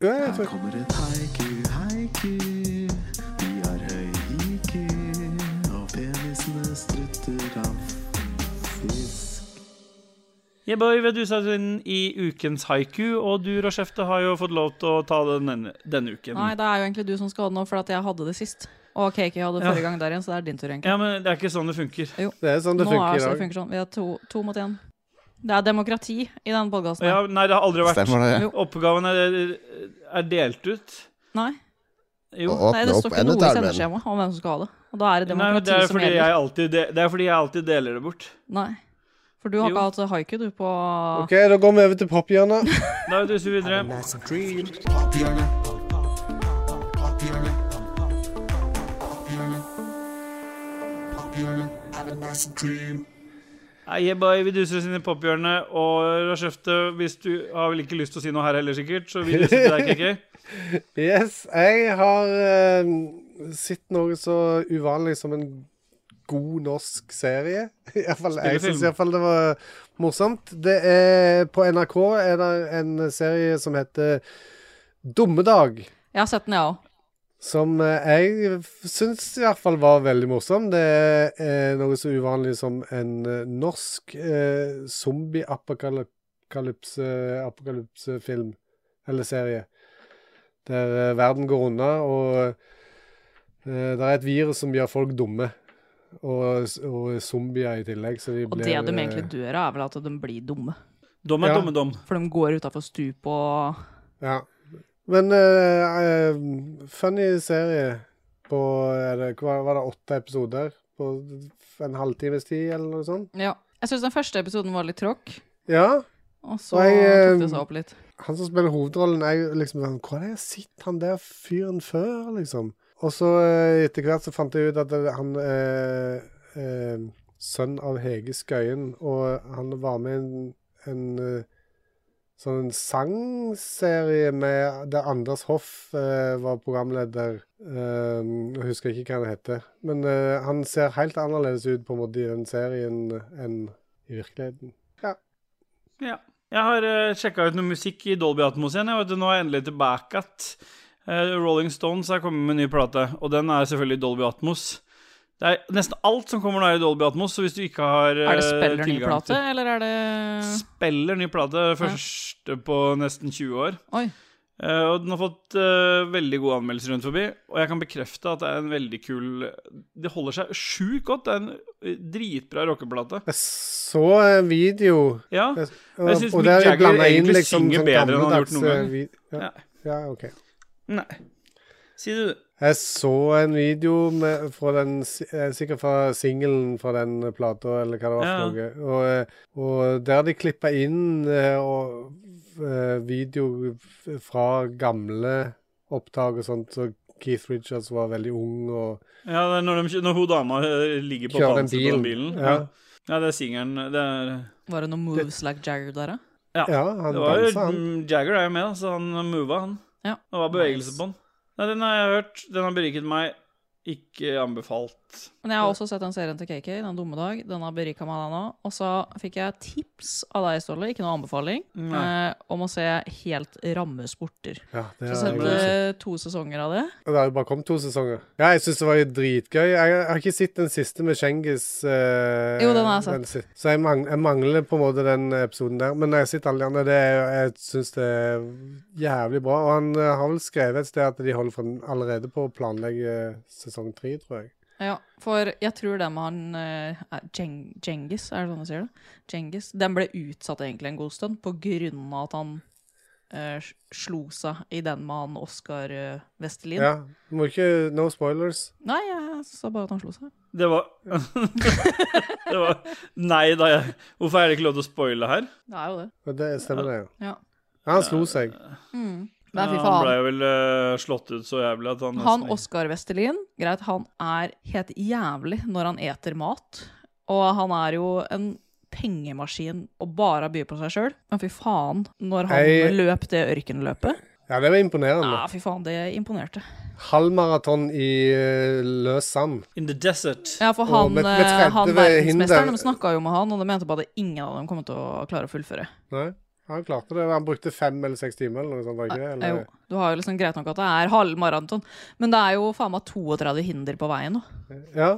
ja jeg tror- kommer et haiku, haiku. Vi har høy IQ, og penisene strutter av fisk. Yeah, boy, vi dusa oss inn i ukens haiku, og du, Rochefte, har jo fått lov til å ta den denne, denne uken. Nei, det er jo egentlig du som skal ha det nå, for at jeg hadde det sist. Og KK hadde Ja. forrige gang der igjen, så det er din tur, egentlig. Ja, men det er ikke sånn det funker. Det er sånn det nå funker er det i så det dag. funker sånn. Vi er to, to mot én. Det er demokrati i den podkasten. Ja, nei, det har aldri vært. Stemmer det? Jo. Oppgaven er, er delt ut. Nei. Jo. Å Nei, det åpne står opp ikke noe i endetarmen. sendeskjemaet om hvem som skal ha det. Og da er det Nei, men demokrati det er, som fordi gjelder. jeg alltid, det, det er fordi jeg alltid deler det bort. Nei. For du har Jo. ikke hatt haiku, du, på OK, da går vi over til pophjørnet. Da duser vi videre. Nei, yeah, boy, vi duser oss inn i pophjørnet. Og Rashefte, hvis du har vel ikke lyst til å si noe her heller, sikkert, så vi duser til deg, (laughs) KK. Yes, jeg har eh, sett noe så uvanlig som en god norsk serie. (laughs) I hvert fall, jeg Spillefilm. syns iallfall det var morsomt. Det er, på NRK er det en serie som heter Dummedag. Jeg har sett den, jeg òg. Som eh, jeg syns i hvert fall var veldig morsom. Det er eh, noe så uvanlig som en eh, norsk eh, zombie-apokalypse-film. Eller serie. Der eh, verden går unna, og eh, det er et virus som gjør folk dumme. Og, og zombier i tillegg. Så de Og blir det de eh, egentlig dør av, er vel at de blir dumme. Dom er Ja. dumme dom. For de går utafor stup og Ja. Men eh, eh, funny serie på er det, hva, Var det åtte episoder på en halvtimes tid, eller noe sånt? Ja. Jeg syns den første episoden var litt tråkk, Ja. og så Og jeg, tok det eh, seg opp litt. Han som spiller hovedrollen, er jo liksom sånn Hvor har jeg sett han der fyren før, liksom? Og så eh, etter hvert så fant jeg ut at det- han eh, eh, Sønn av Hege Skøyen, og han var med i en, en eh, sånn sangserie med der Anders Hoff eh, var programleder. Eh, jeg husker ikke hva han heter. Men eh, han ser helt annerledes ut på en måte i den serien enn i virkeligheten. Ja. Jeg har uh, sjekka ut noe musikk i Dolby Atmos igjen. Jeg vet, du, nå er jeg endelig tilbake at eh, Rolling Stones har kommet med en ny plate, og den er selvfølgelig Dolby Atmos. Det er nesten alt som kommer nå, er i Dolby Atmos, så hvis du ikke har Er det eh, spiller ny tilgang plate, til- eller er det Spiller ny plate, første på nesten 20 år. Oi. Eh, og den har fått eh, veldig gode anmeldelser rundt forbi, og jeg kan bekrefte at det er en veldig kul Det holder seg sjukt godt. Det er en eh, dritbra rockeplate. Jeg så en video Ja. Jeg- Jeg synes Mick Jagger blandet liksom, egentlig synger bedre enn han har gjort gammeldags, noen gang. eh, vi- Ja. Ja. ja, OK. Nei. Si du det. Jeg så en video med, fra den, si- eh, sikkert fra singelen fra den plata, eller hva det var for Ja. noe. Og, eh, og der de klippa inn eh, og, eh, video f- fra gamle opptak og sånt, så Keith Richards var veldig ung og Ja, det er når, de, når hun dama eh, ligger på Kjører banen den på den bilen. bilen. Ja. Ja. ja, det er singelen. Det er Var det noen moves like Jagger der, da? Ja, han det var, dansa, han. mm, Jagger er jo med, da, så han mova, han. Ja. Det var bevegelse Nice. på han. Nei, den har jeg hørt. Den har beriket meg. Ikke anbefalt. Men jeg har også sett den serien til KK, Den dumme dag. Den har berika meg, den òg. Og så fikk jeg tips av deg, Ståle, ikke noe anbefaling, Nei. eh, om å se helt ramme sporter. Ja, det Så har jeg bra. sendte også. to sesonger av det. Og Det har jo bare kommet to sesonger. Ja, jeg syns det var jo dritgøy. Jeg, jeg har ikke sett den siste med Schengis. eh, Jo, den har jeg sett. si- så jeg, mang, jeg mangler på en måte den episoden der. Men når jeg sitter alle de andre, det er, jo- jeg syns det er jævlig bra. Og han eh, har vel skrevet et sted at de holder for, allerede på å planlegge eh, sesong tre, tror jeg. Ja, for jeg tror den med han eh, er Jeng Genghis, er det sånn du sier det? Genghis. Den ble utsatt egentlig en god stund på grunn av at han eh, s- slo seg i den med han Oskar eh, Vestelin. Ja, du må ikke No spoilers. Nei, jeg sa bare at han slo seg. Det var (laughs) Det var Nei da, jeg Hvorfor er det ikke lov til å spoile her? Det er jo det. Og det stemmer, det. jo. Ja. Ja, Han slo seg. Mm. Nei, fy Ja, Han faen. ble jo vel eh, slått ut så jævlig at han Han nesten- Oskar Vestelin, greit, han er helt jævlig når han eter mat. Og han er jo en pengemaskin og bare byr på seg sjøl. Men fy faen, når han Jeg- løp det ørkenløpet Ja, det var imponerende. Ja, fy faen, det imponerte. Halv maraton i eh, løs sand. In the desert. Ja, for Og han, med- med eh, han 30 verdensmesteren, hinder- de snakka jo med han, og de mente bare at ingen av dem kom til å klare å fullføre. Nei, han klarte det. Han brukte fem eller seks timer eller noe sånt. var det ikke det? Eller? Eh, Jo, du har jo liksom greit nok at det er halv maraton, men det er jo faen meg 32 hinder på veien nå. Ja.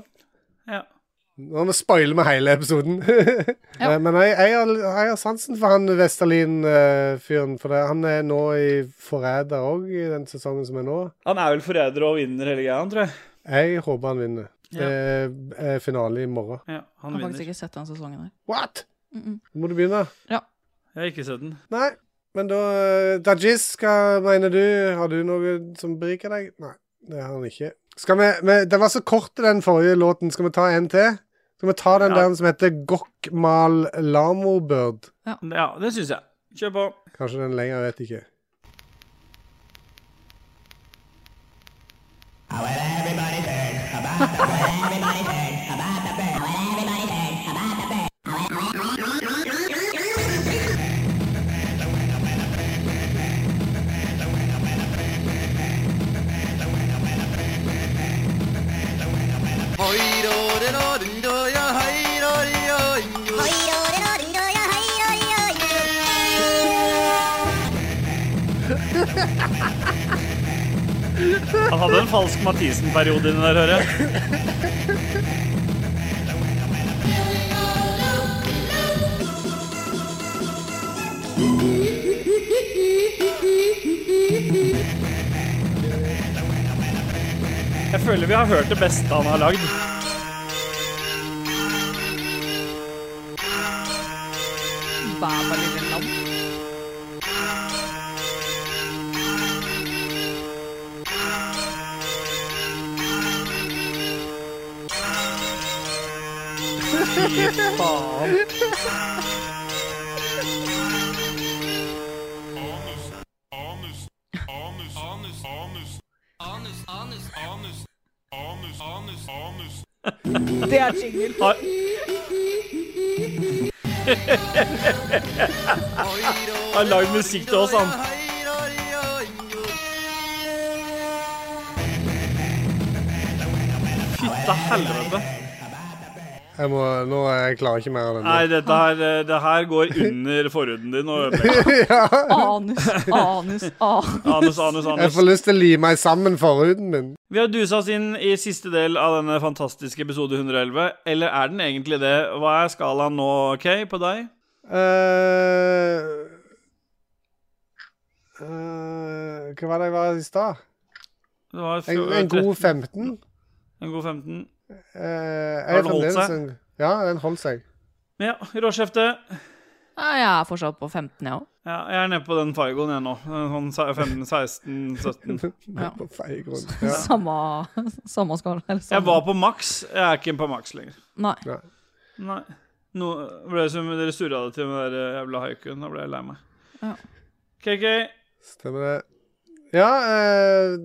Ja. Nå må vi spoile med hele episoden. (laughs) Eh, Men jeg, jeg, har, jeg har sansen for han Vestalin-fyren. for det, han er nå i Forræder òg, i den sesongen som er nå. Han er vel forræder og vinner hele greia, tror jeg. Jeg håper han vinner. Ja. Det er- er finale i morgen. Ja, Jeg han har vinner. faktisk ikke sett den sesongen der. What?! Mm -mm. Må du begynne? Jeg har ikke sett den. Nei. Men da eh, Dajis, hva mener du? Har du noe som beriker deg? Nei, det har han ikke. Skal vi, vi Den var så kort, den forrige låten. Skal vi ta en til? Skal vi ta den Ja. der som heter Gokmal Lamobird? Ja, det syns jeg. Kjør på. Kanskje den lenger, jeg vet ikke. Han hadde en falsk Mathisen-periode inni der, hører jeg. Jeg føler vi har hørt det beste han har lagd. Bæ, bæ, lille lam. Fy faen. Det er jingle. Han lagde musikk til oss, han. Fytta helvete. Jeg må, nå jeg klarer ikke mer av Nei, denne. dette her, eh, det her går under forhuden din og ødelegger. (laughs) Anus, anus, anus. Anus, anus, Jeg anus. får lyst til å lime sammen forhuden min. Vi har dusa oss inn i siste del av denne fantastiske episode 111. Eller er den egentlig det? Hva er skalaen nå, Kay, på deg? eh eh, hva var det jeg var i stad? Det var En, en god 15? En god 15. Eh, jeg Har er den holdt fremdeles seg? en- Ja, den holdt seg. Men ja, råskjefte. Nei, jeg er fortsatt på 15, jeg òg. Ja, jeg er nede på den Faigoen jeg nå. Sånn se- 15, 16, 17. Ja. På feil grunn. (laughs) Ja. Samme, samme skala. eller samme- Jeg var på maks. Jeg er ikke på maks lenger. Nei. Nei. Nå ble det som dere surra det til med den der eh, jævla haikuen. Da ble jeg lei meg. Ja. KK, Stemmer det. Ja, eh,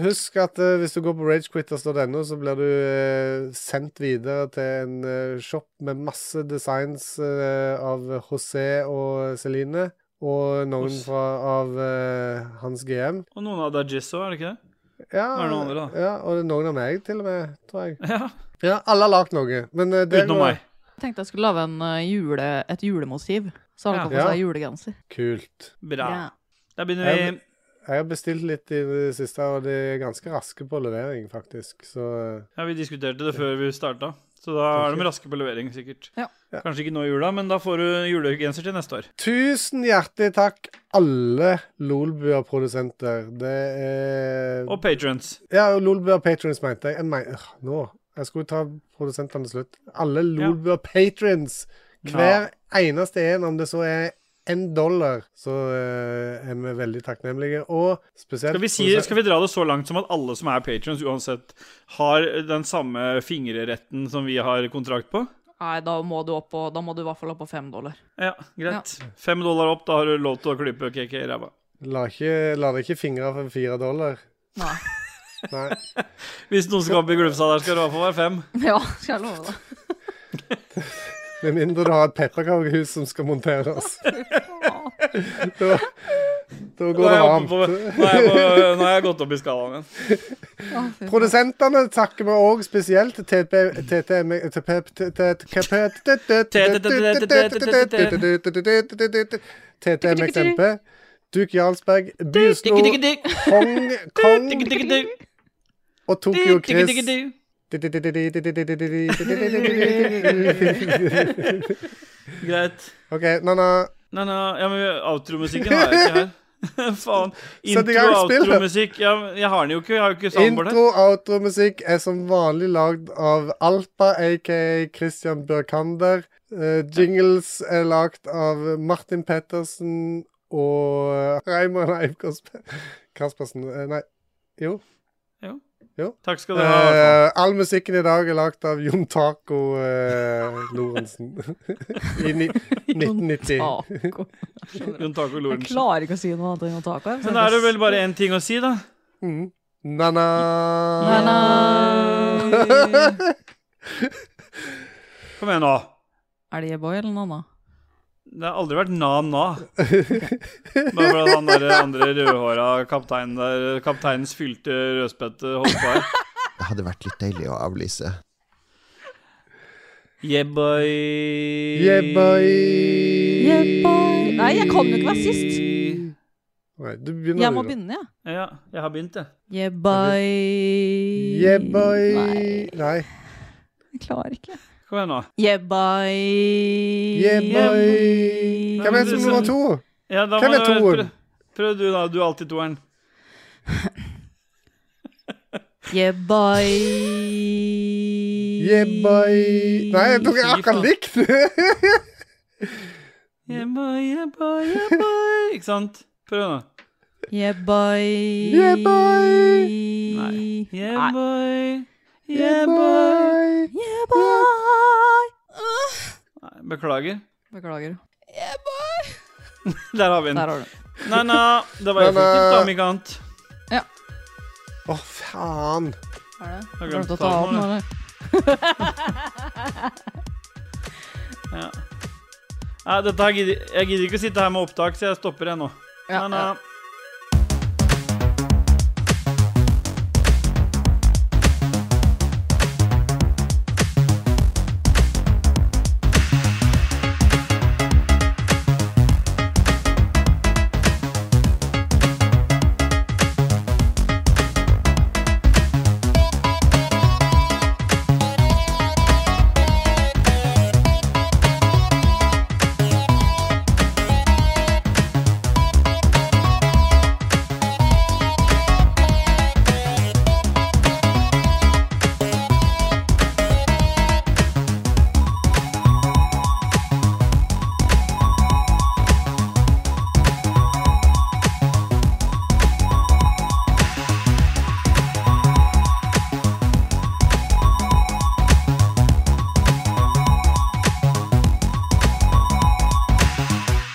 husk at eh, hvis du går på ragequitters.no, så blir du eh, sendt videre til en eh, shop med masse designs eh, av José og Celine, og noen Hos- fra, av eh, hans GM. og noen av deg Jizz òg, er det ikke det? Ja, Nå er det noen andre, da. ja, og det er noen av meg til og med, tror jeg. (laughs) Ja, Ja, alle har lagd noe. Men eh, det Utenom går- meg. Jeg tenkte jeg skulle lage en eh, jule, et julemotiv. Så alle Ja. kan få seg Ja. julegenser. Kult. Bra. Ja. Da begynner vi. Jeg- Jeg har bestilt litt i det siste, og de er ganske raske på levering, faktisk. Så eh, Ja, Vi diskuterte det før vi starta, så da er de raske på levering, sikkert. Ja. Ja. Kanskje ikke nå i jula, men da får du julegenser til neste år. tusen hjertelig takk, alle Lolbua-produsenter. Det er Og patrons. Ja, Lolbua-patrons, mente jeg. jeg men... øh, Nå. Jeg skulle ta produsentene til slutt. Alle Lolbua-patrons. Hver eneste en, om det så er én dollar, så eh, er vi veldig takknemlige. Og spesielt Skal vi, si, produsent- skal vi dra det så langt som at alle som er patrons, uansett har den samme fingerretten som vi har kontrakt på? Nei, da må du opp på, da må du i hvert fall opp på fem dollar. Ja, greit. Fem dollar opp, da har du lov til å klype KK i ræva. La, ikke, la det ikke fingre for fire dollar. Nei. (laughs) Nei. Hvis noen skal opp i glufsa der, skal det i hvert fall være fem. Ja, skal jeg love deg. Med mindre du har et pepperkakehus som skal (laughs) monteres. Ja. Da, Nå da går er det jeg, oppe på, varmt. nå er jeg, på, nå er jeg gått opp i skalaen igjen. Å, fy faen. Produsentene takker vi òg spesielt til TP TTM TP TP TTMXMP, Duke Jarlsberg, Byslo, Kong, Kong og Tokyo Chris. Greit. OK, Nanna. Nei, nei, ja, men outromusikken har jeg ikke her. (laughs) Faen. Sett i Intro gang og spillet. outromusikk. Ja, men jeg har den jo ikke. Jeg har jo ikke soundboard her. Intro- og outromusikk er som vanlig lagd av Alpa, aka Christian Børkander. Eh, jingles er lagd av Martin Pettersen og Raymond Eivkås Pe- Kaspersen Eh, Nei, jo. Takk skal dere ha. Eh, all musikken i dag er lagd av Jon Taco eh, Lorentzen. I (laughs) ni 1990. Taco. Eh, Jon Taco Jeg Lorentzen. klarer ikke å si noe annet enn taco. jeg. Men da er det vel bare én ting å si, da. Mm. Na-na. Nana. Kom igjen, nå. Er det Yeboy eller Nana? Det har aldri vært na-na. Bare fordi han der andre rødhåra kapteinen der, kapteinens fylte rødspette, holdt på her. Det hadde vært litt deilig å avlyse. Yeah, boy. Yeah, boy. Yeboy. Nei, jeg kan jo ikke være sist. Nei, du begynner, Jeg må du, da. begynne, jeg. Ja, jeg har begynt, jeg. Yeboy. Yeah, boy. Nei, Nei. jeg klarer ikke. Kom igjen, nå. Yeboy. Yeah, boy. Hvem er det som er nummer to? Ja, da Hvem må er du- toeren? prøv- Prøv du, da. Du er alltid toeren. Yeboy. Yeah, boy. Nei, jeg tok jeg akkurat likt. (laughs) Yeah, boy, yeah, boy, yeah, boy. (laughs) Ikke sant? Prøv nå. Yeboy. Yeboy. Nei. Yeah, Nei. boy. Yeah, Yeah, boy. boy. Yeboy. Øh, Nei, beklager. Beklager. Yeboy. Der har vi Der den. har du den. Nei, nei, det var Nei, nei. effektivt, da, om ikke annet. Å, faen. Er det? Jeg Har glemte du å å ta ta den av den, eller? Ja. Nei, dette her gidder, jeg gidder ikke å sitte her med opptak, så jeg stopper jeg nå. Ja, Men, ja. eh, eh,